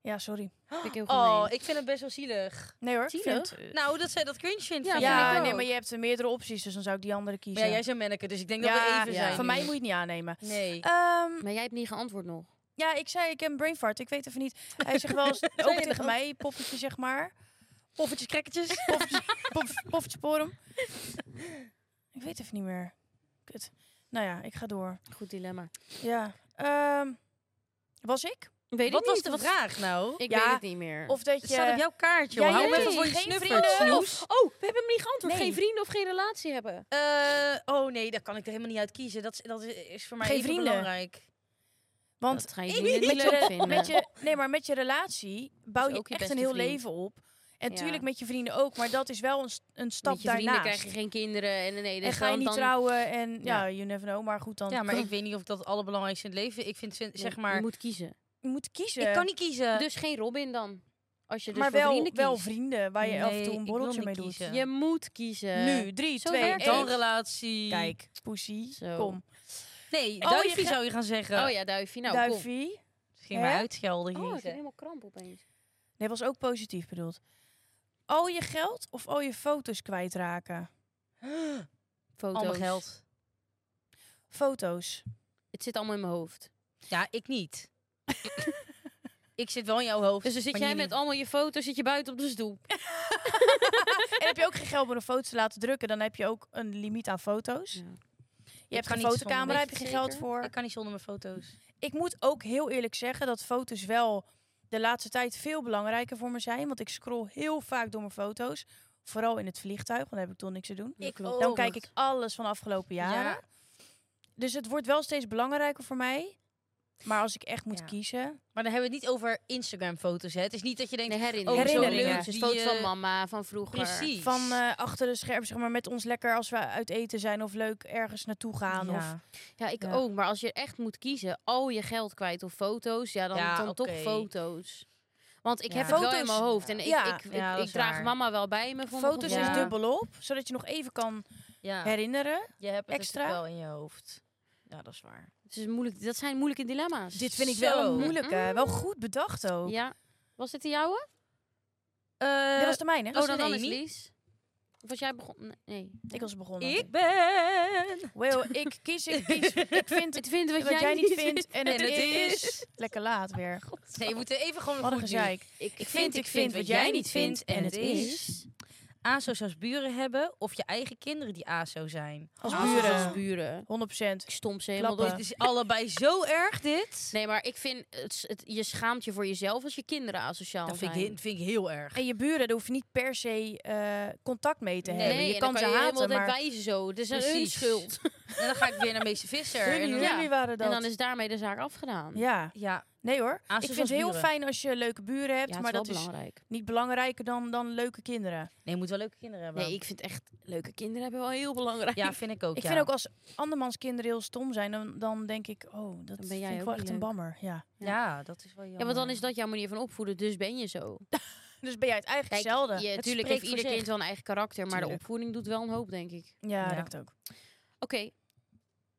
Speaker 1: Ja, sorry.
Speaker 4: vind ik heel
Speaker 3: Oh,
Speaker 4: gemeen.
Speaker 3: ik vind het best wel zielig.
Speaker 1: Nee hoor. ik
Speaker 4: Zielig?
Speaker 1: vind-
Speaker 3: Nou, dat zij dat cringe vindt.
Speaker 4: Ja,
Speaker 3: vind
Speaker 1: ja,
Speaker 3: ik
Speaker 4: ik
Speaker 3: ook.
Speaker 1: nee,
Speaker 4: ook.
Speaker 1: maar je hebt eh, meerdere opties, dus dan zou ik die andere kiezen.
Speaker 3: Maar ja, jij bent manneke, dus ik denk dat we even
Speaker 1: ja.
Speaker 3: zijn.
Speaker 1: Van
Speaker 3: nu.
Speaker 1: mij moet je het niet aannemen.
Speaker 3: Nee.
Speaker 1: Ehm,
Speaker 4: Maar jij hebt niet geantwoord nog.
Speaker 1: ja, ik zei, ik heb een brain fart. Ik weet even
Speaker 3: [LAUGHS]
Speaker 1: niet. Hij zegt wel eens, ook
Speaker 3: je
Speaker 1: tegen
Speaker 3: dat?
Speaker 1: mij, poppetje zeg maar.
Speaker 3: Poffertjes, krekketjes.
Speaker 1: [LAUGHS] Poffetje, pof, poffetje porum. Ik weet even niet meer. Kut. Nou ja, ik ga door.
Speaker 4: Goed dilemma.
Speaker 1: Ja. ehm, was ik?
Speaker 4: Weet
Speaker 3: Wat
Speaker 4: ik
Speaker 3: was
Speaker 4: niet.
Speaker 3: de vraag nou?
Speaker 4: Ik
Speaker 1: Ja,
Speaker 4: weet het niet meer.
Speaker 1: Of dat
Speaker 3: Het
Speaker 1: je...
Speaker 3: staat op jouw kaartje.
Speaker 1: Ja,
Speaker 3: hoor. Hou
Speaker 1: jij
Speaker 3: hem even
Speaker 1: weet.
Speaker 3: voor je
Speaker 1: Geen
Speaker 3: snuffert,
Speaker 1: vrienden.
Speaker 3: snoes.
Speaker 4: Oh, we hebben hem niet geantwoord.
Speaker 1: Nee.
Speaker 4: Geen vrienden of geen relatie hebben.
Speaker 3: Eh, oh nee, daar kan ik er helemaal niet uit kiezen. Dat, is- dat is- is voor mij
Speaker 1: Geen
Speaker 3: even
Speaker 1: vrienden.
Speaker 3: belangrijk.
Speaker 1: want
Speaker 4: Dat ga je
Speaker 1: ik-
Speaker 4: niet
Speaker 1: met
Speaker 4: leuk
Speaker 1: je,
Speaker 4: vinden.
Speaker 1: met je, nee, maar met je relatie bouw
Speaker 4: is
Speaker 1: je
Speaker 4: ook je
Speaker 1: echt
Speaker 4: beste
Speaker 1: een heel
Speaker 4: vriend.
Speaker 1: leven op. En
Speaker 4: Ja.
Speaker 1: tuurlijk met je vrienden ook, maar dat is wel een, s- een stap
Speaker 4: Met je vrienden
Speaker 1: daarnaast.
Speaker 4: krijg je geen kinderen. En, nee,
Speaker 1: en
Speaker 4: dus
Speaker 1: ga je
Speaker 4: dan-
Speaker 1: niet
Speaker 4: dan-
Speaker 1: trouwen en ja.
Speaker 3: Ja.
Speaker 1: you never know. Maar goed, dan
Speaker 3: Ja, maar ik weet niet of ik dat het allerbelangrijkste in het leven... Ik vind,
Speaker 4: Nee,
Speaker 3: zeg maar...
Speaker 4: Je moet kiezen.
Speaker 1: je moet kiezen.
Speaker 3: Ik kan niet kiezen.
Speaker 4: Dus geen Robin dan. Als je dus
Speaker 1: maar
Speaker 4: voor
Speaker 1: wel
Speaker 4: vrienden
Speaker 1: vrienden, wel
Speaker 4: kiest.
Speaker 1: vrienden waar je af en
Speaker 3: Nee,
Speaker 1: toe een
Speaker 3: ik wil
Speaker 1: borreltje
Speaker 3: niet
Speaker 1: mee
Speaker 3: kiezen. Eh,
Speaker 1: doet.
Speaker 4: Je moet kiezen.
Speaker 1: Nu, drie,
Speaker 4: Zo
Speaker 1: twee,
Speaker 4: werkt
Speaker 1: één.
Speaker 3: Dan
Speaker 4: echt.
Speaker 3: relatie.
Speaker 1: Kijk, poesie,
Speaker 4: Zo.
Speaker 1: kom.
Speaker 3: Nee,
Speaker 1: Oh,
Speaker 3: duifje
Speaker 1: je ge-
Speaker 3: zou je gaan zeggen.
Speaker 4: Oh ja, duifje. Nou, kom.
Speaker 1: Duivie.
Speaker 3: Ze ging mij
Speaker 1: Hè?
Speaker 3: uitschelden
Speaker 4: Oh,
Speaker 3: hier.
Speaker 4: ik heb helemaal kramp opeens.
Speaker 1: Nee, was ook positief bedoeld. Al je geld of al je foto's kwijtraken?
Speaker 4: Foto's.
Speaker 3: Al mijn geld.
Speaker 1: Foto's.
Speaker 4: Het zit allemaal in mijn hoofd.
Speaker 3: Ja, ik niet. ik zit wel in jouw hoofd.
Speaker 4: Dus dan zit
Speaker 3: maar
Speaker 4: jij
Speaker 3: jullie-
Speaker 4: met allemaal je foto's, zit je buiten op de stoel.
Speaker 1: en heb je ook geen geld om een foto te laten drukken, dan heb je ook een limiet aan foto's.
Speaker 4: Ja.
Speaker 1: Je hebt
Speaker 3: kan
Speaker 1: geen
Speaker 3: niet
Speaker 1: fotocamera,
Speaker 3: zonder,
Speaker 1: heb je
Speaker 4: weet
Speaker 1: geen
Speaker 4: je
Speaker 1: geld
Speaker 4: zeker?
Speaker 1: voor.
Speaker 3: Ik kan niet zonder mijn foto's.
Speaker 1: Ik moet ook heel eerlijk zeggen dat foto's wel de laatste tijd veel belangrijker voor me zijn. Want ik scroll heel vaak door mijn foto's. Vooral in het vliegtuig, want dan heb ik toch niks te doen.
Speaker 3: Ik
Speaker 4: klopt.
Speaker 3: ook.
Speaker 1: Dan kijk ik alles van de afgelopen jaren.
Speaker 3: Ja.
Speaker 1: Dus het wordt wel steeds belangrijker voor mij. Maar als ik echt moet
Speaker 3: Ja.
Speaker 1: kiezen...
Speaker 3: Maar dan hebben we het niet over Instagram-foto's. hè. Het is niet dat je denkt...
Speaker 4: Nee, herinneringen.
Speaker 1: Oh, zo
Speaker 4: herinneringen.
Speaker 1: leuk,
Speaker 4: Dus
Speaker 3: die,
Speaker 4: foto's van
Speaker 3: eh,
Speaker 4: mama, van vroeger.
Speaker 3: Precies.
Speaker 1: Van eh, achter de schermen, zeg maar, met ons lekker als we uit eten zijn of leuk ergens naartoe gaan. Of,
Speaker 3: Ja.
Speaker 4: Ja, ik
Speaker 3: Ja.
Speaker 4: ook. Maar als je echt moet kiezen, al je geld kwijt of foto's, ja, dan,
Speaker 3: Ja,
Speaker 4: dan toch
Speaker 3: oké.
Speaker 4: foto's. Want ik
Speaker 3: Ja.
Speaker 4: heb het wel in
Speaker 1: Foto's-
Speaker 4: mijn hoofd. En ik,
Speaker 1: Ja.
Speaker 4: ik, ik,
Speaker 3: Ja,
Speaker 4: ik
Speaker 3: dat is
Speaker 4: draag
Speaker 3: waar.
Speaker 4: mama wel bij me. Voor mijn dus-
Speaker 1: foto's
Speaker 4: gevoel.
Speaker 3: Ja.
Speaker 1: is dubbelop, zodat je nog even kan
Speaker 3: ja.
Speaker 1: herinneren.
Speaker 3: Je hebt het
Speaker 1: Extra?
Speaker 3: natuurlijk wel in je hoofd. Ja, dat is waar.
Speaker 4: Het is moeilijk, dat zijn moeilijke dilemma's.
Speaker 1: Dit vind ik
Speaker 3: Zo.
Speaker 1: wel een moeilijke. Wel goed bedacht ook.
Speaker 4: Ja. Was dit de jouwe?
Speaker 1: Dit was de mijne.
Speaker 4: oh,
Speaker 3: was
Speaker 4: dan
Speaker 3: een
Speaker 4: anders
Speaker 3: Amy.
Speaker 4: Lies. Of was jij begonnen? Nee.
Speaker 1: Ik was begonnen.
Speaker 3: Ik ben...
Speaker 1: Wel, ik kies, ik
Speaker 4: [LAUGHS]
Speaker 1: kies. Ik vind
Speaker 4: Het vindt wat,
Speaker 1: wat jij niet vindt en het
Speaker 3: en het
Speaker 1: is... Lekker laat weer.
Speaker 3: Nee, we moeten even gewoon
Speaker 1: Wat een
Speaker 3: goed
Speaker 1: gezeik.
Speaker 4: Ik,
Speaker 3: Ik vind, ik vind wat jij niet vindt en het is. ASO's als buren hebben of je eigen kinderen die ASO zijn. Oh,
Speaker 1: Als buren.
Speaker 4: Ah. buren.
Speaker 1: 100%.
Speaker 4: Ik stom ze helemaal
Speaker 1: Klappen.
Speaker 4: door.
Speaker 3: Dit is allebei zo erg, dit.
Speaker 4: Nee, maar ik vind, het, s- het- je schaamt je voor jezelf als je kinderen asociaal
Speaker 3: dat vind ik,
Speaker 4: zijn.
Speaker 3: he- vind ik heel erg.
Speaker 1: En je buren, daar hoef je niet per se eh, contact mee te
Speaker 3: Nee,
Speaker 1: hebben.
Speaker 4: en
Speaker 1: je
Speaker 4: dan
Speaker 1: kan ze haten,
Speaker 4: helemaal
Speaker 1: maar...
Speaker 4: wijzen zo. Het is een hun
Speaker 3: Precies.
Speaker 4: schuld.
Speaker 3: En dan ga ik weer naar Meester Visser.
Speaker 1: Jullie,
Speaker 3: En dan-
Speaker 4: Ja.
Speaker 1: jullie waren dat.
Speaker 4: En dan is daarmee de zaak afgedaan.
Speaker 1: Ja,
Speaker 3: ja,
Speaker 1: nee hoor.
Speaker 3: ASO's
Speaker 1: ik
Speaker 3: als
Speaker 1: vind het heel
Speaker 3: buren.
Speaker 1: fijn als je leuke buren hebt,
Speaker 4: Ja, het
Speaker 1: maar
Speaker 4: is wel
Speaker 1: dat is
Speaker 4: belangrijk.
Speaker 1: niet belangrijker dan, dan leuke kinderen.
Speaker 3: Nee, je moet wel leuke kinderen hebben.
Speaker 4: Nee, ik vind echt leuke kinderen hebben wel heel belangrijk.
Speaker 3: Ja, vind ik ook.
Speaker 1: Ik
Speaker 3: ja.
Speaker 1: vind ook als andermans kinderen heel stom zijn, dan, dan denk ik, oh, dat
Speaker 4: ben jij
Speaker 1: vind ik
Speaker 4: ook
Speaker 1: wel
Speaker 4: niet
Speaker 1: echt een
Speaker 4: leuk.
Speaker 1: bammer. Ja.
Speaker 3: Ja, dat is wel jammer.
Speaker 4: [LAUGHS] Ja, want dan is dat jouw manier van opvoeden, dus ben je zo.
Speaker 1: Dus ben jij het eigenlijk
Speaker 4: Kijk,
Speaker 1: zelden.
Speaker 4: je,
Speaker 3: Het
Speaker 4: tuurlijk
Speaker 3: spreekt
Speaker 4: heeft
Speaker 3: voor
Speaker 4: ieder
Speaker 3: zich.
Speaker 4: kind wel een eigen karakter, maar de
Speaker 1: Tuurlijk.
Speaker 4: opvoeding doet wel een hoop, denk ik.
Speaker 1: Ja,
Speaker 3: Ja.
Speaker 1: dat denk ik ook.
Speaker 4: Oké,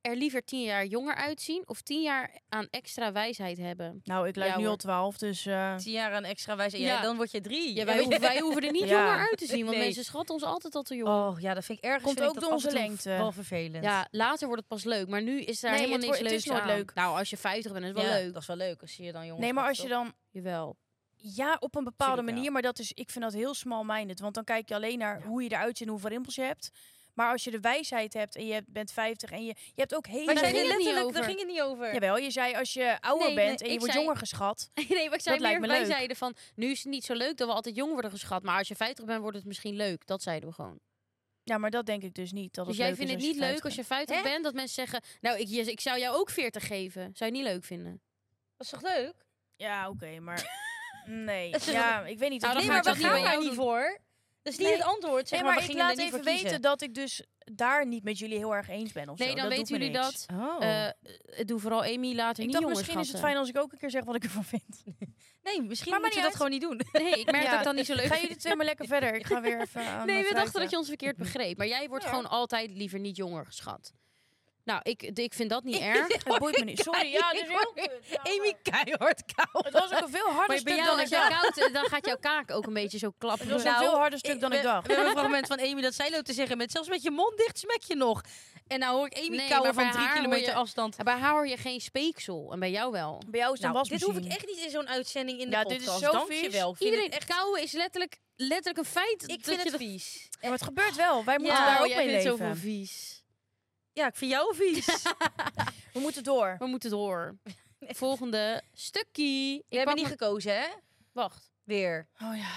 Speaker 4: er liever tien jaar jonger uitzien of tien jaar aan extra wijsheid hebben?
Speaker 1: Nou, ik lijk
Speaker 4: Ja,
Speaker 1: nu al
Speaker 4: hoor.
Speaker 1: twaalf, dus... eh,
Speaker 3: Tien jaar aan extra wijze. Ja,
Speaker 4: Ja.
Speaker 3: dan word je drie.
Speaker 4: Ja, wij, hoeven, wij hoeven er [LAUGHS] niet
Speaker 1: Ja.
Speaker 4: jonger uit te zien, want
Speaker 3: Nee.
Speaker 4: mensen schatten ons altijd al te jong.
Speaker 3: Oh, ja, dat vind ik erg.
Speaker 1: Komt ook door onze lengte.
Speaker 3: Wel vervelend.
Speaker 4: Ja, later wordt het pas leuk, maar nu is daar
Speaker 1: Nee,
Speaker 4: helemaal
Speaker 1: het wordt-
Speaker 4: niks
Speaker 1: het
Speaker 4: leuks
Speaker 1: is nooit
Speaker 4: aan.
Speaker 1: leuk.
Speaker 4: Nou, als je 50 bent, is het wel
Speaker 3: Ja,
Speaker 4: leuk.
Speaker 3: Dat is wel leuk. Als je dan jongens
Speaker 1: nee, maar
Speaker 3: gaat,
Speaker 1: als je
Speaker 3: toch?
Speaker 1: dan...
Speaker 4: Jawel.
Speaker 1: Ja, op een bepaalde
Speaker 3: Tuurlijk wel.
Speaker 1: manier, maar dat is, ik vind dat heel small-minded. Want dan kijk je alleen naar hoe je eruit ziet en hoeveel rimpels je hebt. Maar als je de wijsheid hebt en je hebt- bent 50 en je, je hebt ook hele...
Speaker 3: Wij
Speaker 4: Daar
Speaker 3: zijn
Speaker 4: ging
Speaker 3: er
Speaker 4: het niet
Speaker 3: letterlijk,
Speaker 4: over.
Speaker 3: daar ging het niet over.
Speaker 1: Jawel, je zei als je ouder
Speaker 4: Nee,
Speaker 1: bent
Speaker 4: nee,
Speaker 1: en je
Speaker 4: ik
Speaker 1: wordt
Speaker 4: zei-
Speaker 1: jonger geschat.
Speaker 4: [LAUGHS] Nee, maar ik zei
Speaker 1: Dat lijkt me
Speaker 4: meer, wij
Speaker 1: leuk.
Speaker 4: zeiden van, nu is het niet zo leuk dat we altijd jong worden geschat. Maar als je 50 bent, wordt het misschien leuk. Dat zeiden we gewoon.
Speaker 1: Ja, maar dat denk ik dus niet. Dat
Speaker 4: Dus
Speaker 1: het
Speaker 4: jij
Speaker 1: leuk
Speaker 4: vindt
Speaker 1: is
Speaker 4: het niet leuk
Speaker 1: 50
Speaker 4: als je
Speaker 1: bent.
Speaker 4: 50 bent, dat mensen zeggen... Nou, ik, ik zou jou ook 40 geven. Zou je niet leuk vinden?
Speaker 3: Dat is toch leuk?
Speaker 1: Ja, oké,
Speaker 4: [LAUGHS]
Speaker 1: maar... Nee,
Speaker 3: Het is
Speaker 1: ja, ik weet niet.
Speaker 4: Nou,
Speaker 1: of
Speaker 3: nee,
Speaker 1: ik
Speaker 4: dan
Speaker 3: maar we
Speaker 1: dat
Speaker 4: gaat het
Speaker 3: gaan
Speaker 1: wil.
Speaker 4: niet bij
Speaker 3: daar
Speaker 4: jou
Speaker 3: niet
Speaker 4: doen.
Speaker 3: voor. Dat is niet
Speaker 1: Nee.
Speaker 3: het antwoord. Zeg
Speaker 1: Nee,
Speaker 3: maar,
Speaker 1: maar
Speaker 3: we
Speaker 1: ik
Speaker 3: gingen
Speaker 1: laat
Speaker 3: er niet
Speaker 1: even
Speaker 3: voor kiezen.
Speaker 1: weten dat ik dus daar niet met jullie heel erg eens ben of
Speaker 4: Nee,
Speaker 1: zo.
Speaker 4: dan
Speaker 1: dat doet
Speaker 4: weten
Speaker 1: me
Speaker 4: jullie
Speaker 1: niks.
Speaker 4: dat.
Speaker 3: Oh.
Speaker 4: Eh doe vooral Amy later
Speaker 1: Ik
Speaker 4: niet
Speaker 1: dacht,
Speaker 4: jonger
Speaker 1: misschien is het
Speaker 4: schatten.
Speaker 1: fijn als ik ook een keer zeg wat ik ervan vind.
Speaker 3: nee, misschien
Speaker 1: Maar maakt
Speaker 3: moeten we dat
Speaker 1: niet
Speaker 3: gewoon niet doen.
Speaker 4: Nee, ik merk
Speaker 1: Ja.
Speaker 4: dat ik dan niet zo
Speaker 1: [LAUGHS]
Speaker 4: leuk
Speaker 1: Ga
Speaker 4: vind.
Speaker 1: jullie twee maar lekker verder. Ik ga weer even aan mijn
Speaker 4: Nee, we dachten
Speaker 1: fruitje.
Speaker 4: dat je ons verkeerd begreep. Maar jij wordt
Speaker 1: Ja.
Speaker 4: gewoon altijd liever niet jonger geschat. Nou, ik, ik vind dat
Speaker 1: [LAUGHS]
Speaker 4: niet erg.
Speaker 1: Het boeit me niet. Sorry, ja,
Speaker 4: [LAUGHS]
Speaker 1: dit is heel kut. Ja,
Speaker 3: Amy
Speaker 1: maar-
Speaker 3: keihard koud.
Speaker 1: Het was ook een veel harder
Speaker 4: Maar bij
Speaker 1: stuk
Speaker 4: jou,
Speaker 1: dan
Speaker 4: als
Speaker 1: ik
Speaker 4: jij
Speaker 1: dacht.
Speaker 4: koud, eh, dan gaat jouw kaak ook een beetje
Speaker 1: [LAUGHS]
Speaker 4: zo klappen.
Speaker 1: Het was een
Speaker 3: Nou,
Speaker 1: veel harder stuk dan
Speaker 3: we,
Speaker 1: ik dacht.
Speaker 3: We hebben een fragment van Amy dat zij loopt te zeggen. Met, zelfs met je mond dicht smek je nog. En nou hoor ik Amy
Speaker 4: Nee, maar
Speaker 3: kauwen
Speaker 4: bij
Speaker 3: van drie
Speaker 4: haar hoor
Speaker 3: kilometer
Speaker 4: je-
Speaker 3: afstand.
Speaker 4: En Bij haar hoor je geen speeksel. En bij jou wel.
Speaker 1: Bij jou is het een
Speaker 3: Nou, dit hoef ik
Speaker 1: wasmachine.
Speaker 3: echt niet in zo'n uitzending in de
Speaker 1: Ja, dit is
Speaker 3: podcast.
Speaker 1: zo
Speaker 3: Dank je
Speaker 1: vies.
Speaker 3: wel. Ik vind
Speaker 4: Iedereen,
Speaker 3: het echt,
Speaker 4: kauwen is letterlijk, letterlijk een feit.
Speaker 3: ik vind
Speaker 4: je
Speaker 3: het
Speaker 4: dat-
Speaker 3: vies.
Speaker 1: Ja, maar het gebeurt wel. Wij moeten
Speaker 4: Ja,
Speaker 1: daar
Speaker 4: oh,
Speaker 1: ook
Speaker 4: jij
Speaker 1: mee
Speaker 4: vindt
Speaker 1: leven.
Speaker 4: zoveel vies.
Speaker 3: Ja, ik vind jou vies.
Speaker 1: We moeten door.
Speaker 4: We moeten
Speaker 1: [LAUGHS]
Speaker 4: door. Volgende stukje.
Speaker 3: We
Speaker 4: Ik
Speaker 3: hebben
Speaker 4: pak
Speaker 3: niet
Speaker 4: mijn-
Speaker 3: gekozen, hè?
Speaker 4: Wacht.
Speaker 3: Weer.
Speaker 1: Oh ja.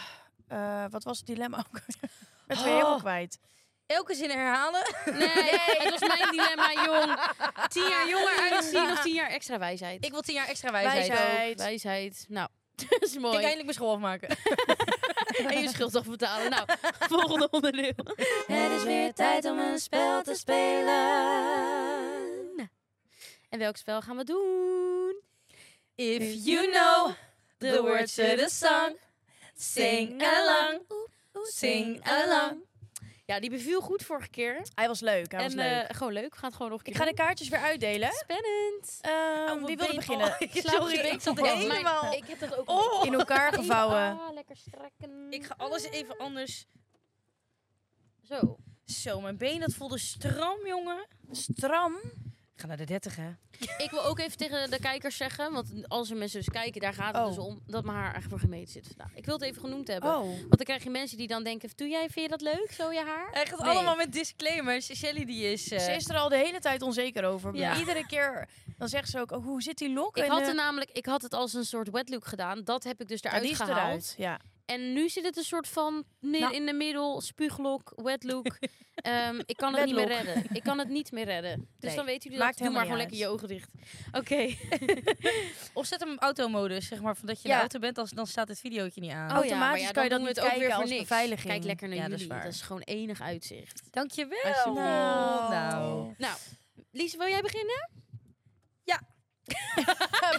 Speaker 1: Eh, wat was het dilemma ook? [LAUGHS] alweer? Ik ben weer helemaal
Speaker 3: Oh.
Speaker 1: kwijt.
Speaker 3: Elke zin herhalen. [LAUGHS]
Speaker 4: Nee, het was mijn dilemma, jong. Tien jaar jonger uitzien of tien jaar extra wijsheid?
Speaker 3: Ik wil tien jaar extra wijsheid.
Speaker 1: Wijsheid.
Speaker 4: Ook. Wijsheid. Nou, [LAUGHS] dat is
Speaker 3: Ik kan
Speaker 4: mooi.
Speaker 3: eindelijk mijn school afmaken.
Speaker 4: en je schuld afbetalen. [LAUGHS] Nou, volgende onderdeel.
Speaker 2: Het is weer tijd om een spel te spelen.
Speaker 4: En welk spel gaan we doen?
Speaker 3: If
Speaker 2: you know the words to the song, sing along. Sing along.
Speaker 4: Ja, die beviel goed vorige keer.
Speaker 1: Hij was leuk, hij
Speaker 4: en
Speaker 1: was leuk.
Speaker 4: eh, gewoon leuk. We gaan het gewoon nog een keer
Speaker 1: ik ga de kaartjes weer uitdelen.
Speaker 4: doen. Spannend.
Speaker 1: Ehm,
Speaker 3: mijn
Speaker 1: wie wil er
Speaker 3: been.
Speaker 1: beginnen?
Speaker 3: Oh, ik
Speaker 4: Slaap
Speaker 3: Sorry,
Speaker 4: je been
Speaker 3: ik zat
Speaker 4: vast.
Speaker 3: helemaal-
Speaker 4: Mijn- Ik heb toch ook...
Speaker 3: Oh.
Speaker 1: In elkaar gevouwen.
Speaker 4: Ah, lekker strekken.
Speaker 3: Ik ga alles even anders.
Speaker 4: Zo.
Speaker 3: Zo, mijn been dat voelde stram, jongen.
Speaker 1: Stram.
Speaker 3: Ik ga naar de 30, hè?
Speaker 4: Ik wil ook even tegen de kijkers zeggen, want als er mensen dus kijken, daar gaat het
Speaker 1: Oh.
Speaker 4: dus om, dat mijn haar echt voor gemeten zit vandaag. Ik wil het even genoemd hebben.
Speaker 1: Oh.
Speaker 4: Want dan krijg je mensen die dan denken, doe jij, vind je dat leuk, zo je haar?
Speaker 3: Echt
Speaker 4: Nee.
Speaker 3: allemaal met disclaimers. Shelly die is... eh,
Speaker 1: Ze is er al de hele tijd onzeker over.
Speaker 3: Ja.
Speaker 1: Iedere keer dan zegt ze ook, oh, hoe zit die lok?
Speaker 4: Ik
Speaker 1: En,
Speaker 4: had
Speaker 1: eh,
Speaker 4: er namelijk, ik had het als een soort wet look gedaan. Dat heb ik dus
Speaker 1: ja,
Speaker 4: eruit
Speaker 1: die is
Speaker 4: gehaald.
Speaker 1: eruit. Ja.
Speaker 4: En nu zit het een soort van neer
Speaker 1: Nou.
Speaker 4: in de middel, spuuglok, wet
Speaker 1: [LAUGHS]
Speaker 4: look. Ehm, ik kan het niet meer
Speaker 1: Wedlock.
Speaker 4: redden. Ik kan het niet meer
Speaker 1: [LAUGHS]
Speaker 4: redden. Dus
Speaker 1: Nee,
Speaker 4: dan weten jullie
Speaker 1: maakt
Speaker 4: dat. Doe maar
Speaker 1: helemaal
Speaker 4: gewoon
Speaker 1: niet
Speaker 4: lekker je ogen dicht. Oké.
Speaker 1: [LAUGHS]
Speaker 3: Of zet hem op automodus, zeg maar. Van dat je in
Speaker 1: Ja,
Speaker 3: de auto bent, als, dan staat het videootje niet aan.
Speaker 1: Oh, Automatisch kan je dat
Speaker 4: doen we
Speaker 1: niet
Speaker 4: het ook weer
Speaker 1: kijken
Speaker 4: voor
Speaker 1: als
Speaker 4: niks.
Speaker 1: beveiliging.
Speaker 4: Kijk lekker naar
Speaker 3: Ja, dat
Speaker 4: jullie.
Speaker 3: is
Speaker 4: Dat is,
Speaker 3: waar.
Speaker 4: gewoon enig uitzicht.
Speaker 3: Dankjewel.
Speaker 4: Alsjeblieft.
Speaker 3: Nou.
Speaker 4: Nou, Lies, wil jij beginnen?
Speaker 1: [LAUGHS]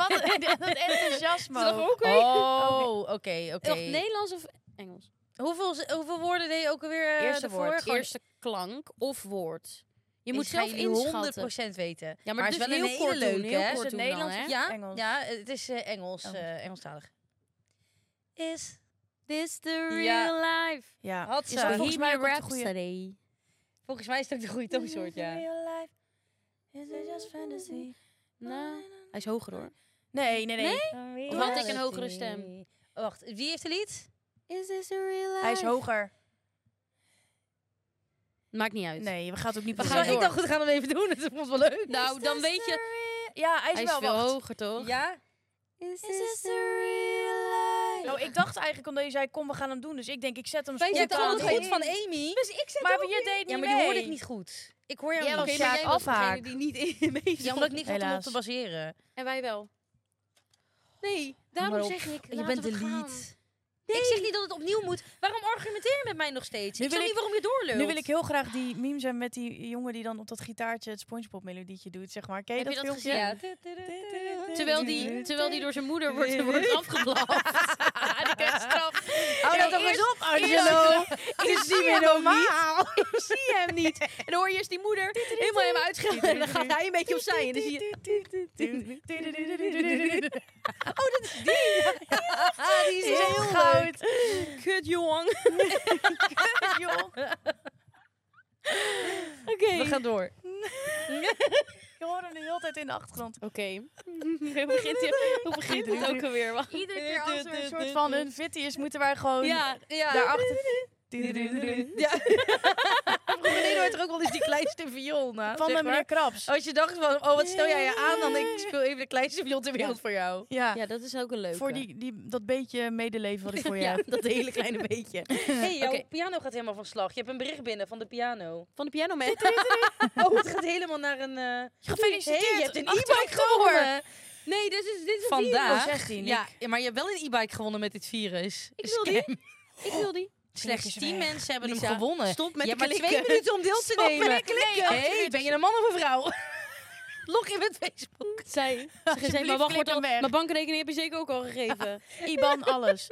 Speaker 1: Wat een dat enthousiasme.
Speaker 4: Is dat
Speaker 1: ook.
Speaker 3: Oh, oké, oké.
Speaker 4: Of Nederlands of Engels?
Speaker 3: Hoeveel, z- hoeveel woorden deed je ook alweer eh
Speaker 1: Eerste
Speaker 3: daarvoor?
Speaker 1: woord.
Speaker 3: Gewoon-
Speaker 4: Eerste klank of woord. Je
Speaker 3: Ik
Speaker 4: moet
Speaker 3: ga
Speaker 4: zelf
Speaker 3: jullie
Speaker 4: inschatten.
Speaker 3: 100% weten.
Speaker 4: Ja, maar,
Speaker 3: het
Speaker 4: dus heel kort doen, heel
Speaker 1: Is
Speaker 4: kort
Speaker 1: het
Speaker 4: doen dan,
Speaker 1: Nederlands
Speaker 4: hè?
Speaker 1: of
Speaker 3: Ja,
Speaker 1: Engels?
Speaker 3: ja, het is eh, Engels,
Speaker 1: Engels.
Speaker 3: eh, Engelstalig. Is
Speaker 4: This the real
Speaker 3: Ja.
Speaker 4: life.
Speaker 1: Ja.
Speaker 3: had
Speaker 1: Is dat
Speaker 3: ze.
Speaker 1: volgens
Speaker 4: Bohemian
Speaker 1: mij ook op de
Speaker 4: Rhapsody.
Speaker 3: Volgens mij is het ook de goede toonsoort, ja.
Speaker 4: Nou, Hij is hoger hoor.
Speaker 1: Nee, nee, nee.
Speaker 4: Of had ik een hogere stem?
Speaker 3: Wacht, wie heeft het lied?
Speaker 4: Is this the real life?
Speaker 1: Hij is hoger.
Speaker 4: Maakt niet uit.
Speaker 1: Nee, we gaan het ook niet
Speaker 4: We
Speaker 3: We
Speaker 4: gaan
Speaker 1: proberen.
Speaker 3: ik
Speaker 4: door.
Speaker 3: dacht, we gaan hem even
Speaker 4: [LAUGHS]
Speaker 3: doen. Het vond wel leuk.
Speaker 4: Nou, dan weet je.
Speaker 1: Ja, hij is
Speaker 4: Hij is
Speaker 1: wel
Speaker 4: veel
Speaker 1: wacht.
Speaker 4: hoger toch?
Speaker 3: Ja?
Speaker 4: Is this the real life?
Speaker 1: Nou, ik dacht eigenlijk omdat je zei, kom, we gaan hem doen. Dus ik denk, ik zet hem
Speaker 3: Wij
Speaker 1: spontaan.
Speaker 3: zitten allemaal
Speaker 1: in.
Speaker 3: goed van Amy.
Speaker 1: Dus ik zet maar je deed niet
Speaker 3: Ja, maar
Speaker 1: mee.
Speaker 3: die hoorde ik niet goed. Ik hoor jou
Speaker 4: Jij was
Speaker 1: Oké,
Speaker 3: niet.
Speaker 1: maar
Speaker 4: Sjaak
Speaker 1: jij was degene
Speaker 4: afhaak. Die niet in [LAUGHS]
Speaker 3: Ja, omdat ik niks had om op
Speaker 1: Helaas.
Speaker 3: te baseren.
Speaker 4: En wij wel.
Speaker 3: Maar
Speaker 4: Nee, daarom
Speaker 3: op.
Speaker 4: zeg ik.
Speaker 3: Je bent de lead. Ik zeg niet dat het opnieuw moet. Waarom argumenteer je met mij nog steeds?
Speaker 1: Nu
Speaker 3: ik snap
Speaker 1: wil
Speaker 3: niet waarom je doorloopt.
Speaker 1: Nu wil ik heel graag die meme zijn met die jongen die dan op dat gitaartje het Spongebob melodietje doet, zeg maar. Ken je
Speaker 4: Heb je
Speaker 1: dat
Speaker 4: dat
Speaker 1: filmpje?
Speaker 4: gezien?
Speaker 3: Ja.
Speaker 4: Terwijl die, terwijl die door zijn moeder
Speaker 1: [LAUGHS]
Speaker 4: wordt, wordt afgeblaft. die krijgt straf.
Speaker 1: Hou
Speaker 4: Ja,
Speaker 1: dat toch eens op, Angelo!
Speaker 4: eerst-
Speaker 1: Ik zie hem normaal! Ik zie hem niet! En dan hoor je eerst die moeder helemaal hem uitschelden. En [LAUGHS] dan gaat hij een beetje opzij en dan zie [LAUGHS] je...
Speaker 3: Oh, Ah, die is
Speaker 1: is
Speaker 3: heel
Speaker 1: heel
Speaker 3: goud.
Speaker 4: Kut jong. Oké.
Speaker 3: We gaan [LAUGHS] door.
Speaker 1: Je hoort hem de hele tijd in de achtergrond.
Speaker 4: Oké. Hoe begint, die- hoe begint het ook alweer? Wacht.
Speaker 1: Iedere keer als er een soort
Speaker 3: [LAUGHS]
Speaker 1: van een fitty is, moeten wij gewoon
Speaker 4: Ja,
Speaker 3: Ja.
Speaker 1: daarachter...
Speaker 3: [LAUGHS]
Speaker 1: [LAUGHS]
Speaker 3: Ja. Vroeger deed hoort er ook wel eens die kleinste viool na.
Speaker 1: Van
Speaker 3: zeg
Speaker 1: de meneer
Speaker 3: maar.
Speaker 1: Krabs.
Speaker 3: Als je dacht van, oh wat stel jij je aan, dan denk ik speel even de kleinste viool ter wereld voor jou.
Speaker 1: Ja,
Speaker 4: ja, dat is ook een leuke.
Speaker 1: voor die, die, dat beetje medeleven wat
Speaker 3: [LAUGHS]
Speaker 1: ik voor je heb.
Speaker 3: dat hele kleine beetje. hey, jouw
Speaker 4: Oké.
Speaker 3: piano gaat helemaal van slag. Je hebt een bericht binnen van de [LAUGHS] piano.
Speaker 4: Van de piano man.
Speaker 3: Oh, het gaat helemaal naar een... eh,
Speaker 1: Gefeliciteerd!
Speaker 3: Hey, je hebt een
Speaker 1: Acht
Speaker 3: e-bike
Speaker 1: weken gewonnen.
Speaker 3: gewonnen.
Speaker 4: Nee, dit is, dit is een
Speaker 3: Vandaag.
Speaker 1: Oh, 16,
Speaker 3: Ja, ja, maar je hebt wel een e-bike gewonnen met dit virus.
Speaker 4: Ik wil
Speaker 3: Scam.
Speaker 4: vi- Ik wil die.
Speaker 3: Slechts
Speaker 1: Knikken ze
Speaker 3: 10
Speaker 1: weg.
Speaker 3: mensen hebben
Speaker 4: Lisa,
Speaker 3: hem gewonnen.
Speaker 4: Stop met
Speaker 3: je
Speaker 4: de
Speaker 3: hebt maar
Speaker 4: klikken.
Speaker 3: twee minuten om deel te
Speaker 1: Stop met
Speaker 3: nemen.
Speaker 1: de klikken.
Speaker 3: hey, ben je een man of een vrouw? Log in met Facebook.
Speaker 4: Zij, ze zei, maar
Speaker 1: klik
Speaker 4: wacht, wordt
Speaker 1: hem
Speaker 4: al,
Speaker 1: weg.
Speaker 4: mijn bankrekening heb je zeker ook al gegeven.
Speaker 1: IBAN, alles.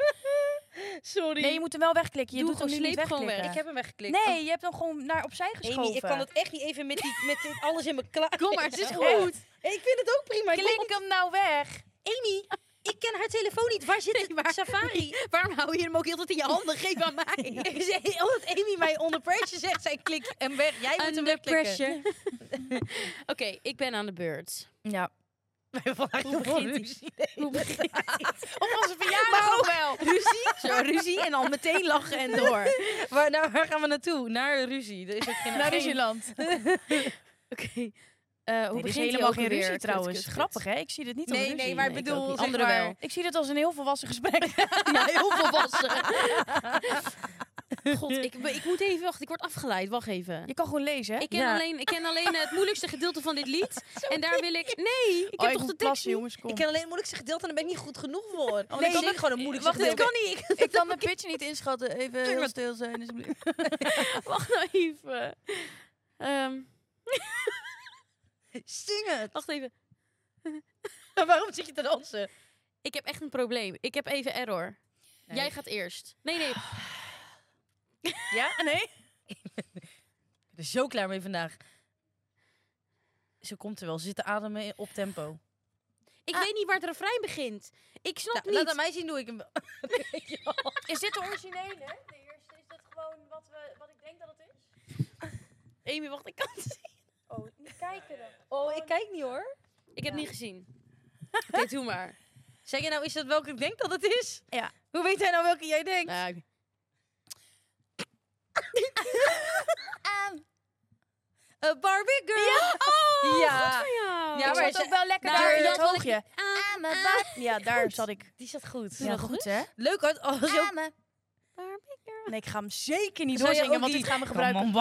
Speaker 3: Sorry.
Speaker 1: Nee, je moet hem wel wegklikken. Je
Speaker 4: Doe
Speaker 1: doet hem
Speaker 4: gewoon,
Speaker 1: nu niet
Speaker 4: sleep gewoon
Speaker 1: wegklikken.
Speaker 4: weg.
Speaker 3: Ik heb hem weggeklikt.
Speaker 1: Nee, je hebt hem gewoon naar opzij geschoven.
Speaker 3: Amy, ik kan het echt niet even met, die, met dit alles in mijn [LAUGHS] klaar.
Speaker 4: Kom maar, het is
Speaker 1: goed.
Speaker 3: Ik vind het ook prima. Ik
Speaker 1: Klik hem nou weg.
Speaker 3: wil- Amy, ik ken haar telefoon niet. Waar zit het? Safari.
Speaker 4: Waarom hou je hem ook heel de tijd in je handen? Geef aan [LAUGHS] mij.
Speaker 3: Ik zei, omdat Amy mij onder pressure zegt, zij klik en weg. Jij moet hem
Speaker 4: Under
Speaker 3: wegklikken.
Speaker 4: pressure. [LAUGHS] Oké, ik ben aan de beurt.
Speaker 1: Ja.
Speaker 3: Wij hebben vandaag nog geen ruzie.
Speaker 4: Hoe begin
Speaker 1: Op onze verjaardag ook wel.
Speaker 3: ruzie. Zo, ruzie en dan meteen lachen en door. Waar, nou, waar gaan we naartoe? Naar ruzie. Er is ook geen
Speaker 1: Naar
Speaker 3: geen-
Speaker 1: Rusieland.
Speaker 4: [LAUGHS] Oké. Eh, hoe
Speaker 1: Dit is
Speaker 4: begint hij
Speaker 1: helemaal
Speaker 4: ook
Speaker 1: geen
Speaker 4: alweer?
Speaker 1: ruzie
Speaker 4: Kut,
Speaker 1: trouwens.
Speaker 4: kut, kut.
Speaker 1: Grappig hè? Ik zie dit niet als
Speaker 3: Nee,
Speaker 1: ruzie.
Speaker 3: nee, maar ik
Speaker 4: Nee, ik
Speaker 3: bedoel,
Speaker 4: ook niet.
Speaker 3: zeg
Speaker 4: Anderen
Speaker 3: maar-
Speaker 4: wel.
Speaker 1: Ik zie dit als een heel volwassen gesprek.
Speaker 4: Ja, heel volwassen. God, ik, ik moet even wachten. Ik word afgeleid. Wacht even.
Speaker 1: Je kan gewoon lezen, hè?
Speaker 4: Ik ken,
Speaker 3: Ja.
Speaker 4: alleen, ik ken alleen het moeilijkste gedeelte van dit lied. en daar wil ik... Nee, ik
Speaker 1: Oh,
Speaker 4: heb toch de
Speaker 1: moet
Speaker 4: tekst
Speaker 1: plassen,
Speaker 4: niet.
Speaker 1: jongens, kom.
Speaker 6: Ik ken alleen het moeilijkste gedeelte en daar ben ik niet goed genoeg voor. Oh,
Speaker 1: Nee,
Speaker 6: nee, ik
Speaker 1: ik-
Speaker 6: kan gewoon een moeilijkste
Speaker 1: wacht, dit
Speaker 6: gedeelte.
Speaker 1: kan niet. Ik kan de pitch niet inschatten. Even stil zijn, alsjeblieft.
Speaker 4: [LAUGHS] Wacht nou even. Ehm,
Speaker 6: Zing
Speaker 3: [LAUGHS]
Speaker 6: het.
Speaker 4: wacht even.
Speaker 3: Waarom zit je te dansen?
Speaker 4: Ik heb echt een probleem. Ik heb even error. Jij gaat eerst. Nee, nee.
Speaker 1: Ja?
Speaker 3: [LAUGHS]
Speaker 1: Nee?
Speaker 3: Ik ben er zo klaar mee vandaag. Ze komt er wel. Ze zit te ademen in- op tempo.
Speaker 4: Ik weet niet waar het refrein begint. Ik snap
Speaker 3: Nou,
Speaker 4: niet.
Speaker 3: laat aan mij zien hoe ik hem...
Speaker 1: Is dit de originele? De eerste, is dat gewoon wat, we, wat ik denk dat het is?
Speaker 4: Amy, wacht. Ik kan het zien.
Speaker 1: Oh, niet kijken dan.
Speaker 6: Oh, ik kijk niet hoor.
Speaker 4: Ik heb niet gezien. Oké, doe maar.
Speaker 3: Zeg je nou, is dat welke ik denk dat het is?
Speaker 1: Ja.
Speaker 3: Hoe weet hij nou welke jij denkt?
Speaker 4: Nou, ik-
Speaker 3: A Barbie girl. Ja. Oh, ja.
Speaker 4: ja.
Speaker 3: Ja,
Speaker 1: Ja,
Speaker 3: maar
Speaker 1: maar
Speaker 3: ze-
Speaker 1: zat ook wel lekker
Speaker 4: nou,
Speaker 1: daar in
Speaker 4: je
Speaker 1: het
Speaker 4: had wel
Speaker 1: hoogje. Ja, daar zat ik.
Speaker 3: Die zat goed.
Speaker 1: Ja, goed hè?
Speaker 3: Leuk als, als je ook...
Speaker 1: Nee, ik ga hem zeker niet
Speaker 3: Zou je
Speaker 1: doorzingen,
Speaker 3: ook
Speaker 1: want
Speaker 3: die-
Speaker 1: dit gaan we
Speaker 3: Come
Speaker 1: gebruiken.
Speaker 3: on,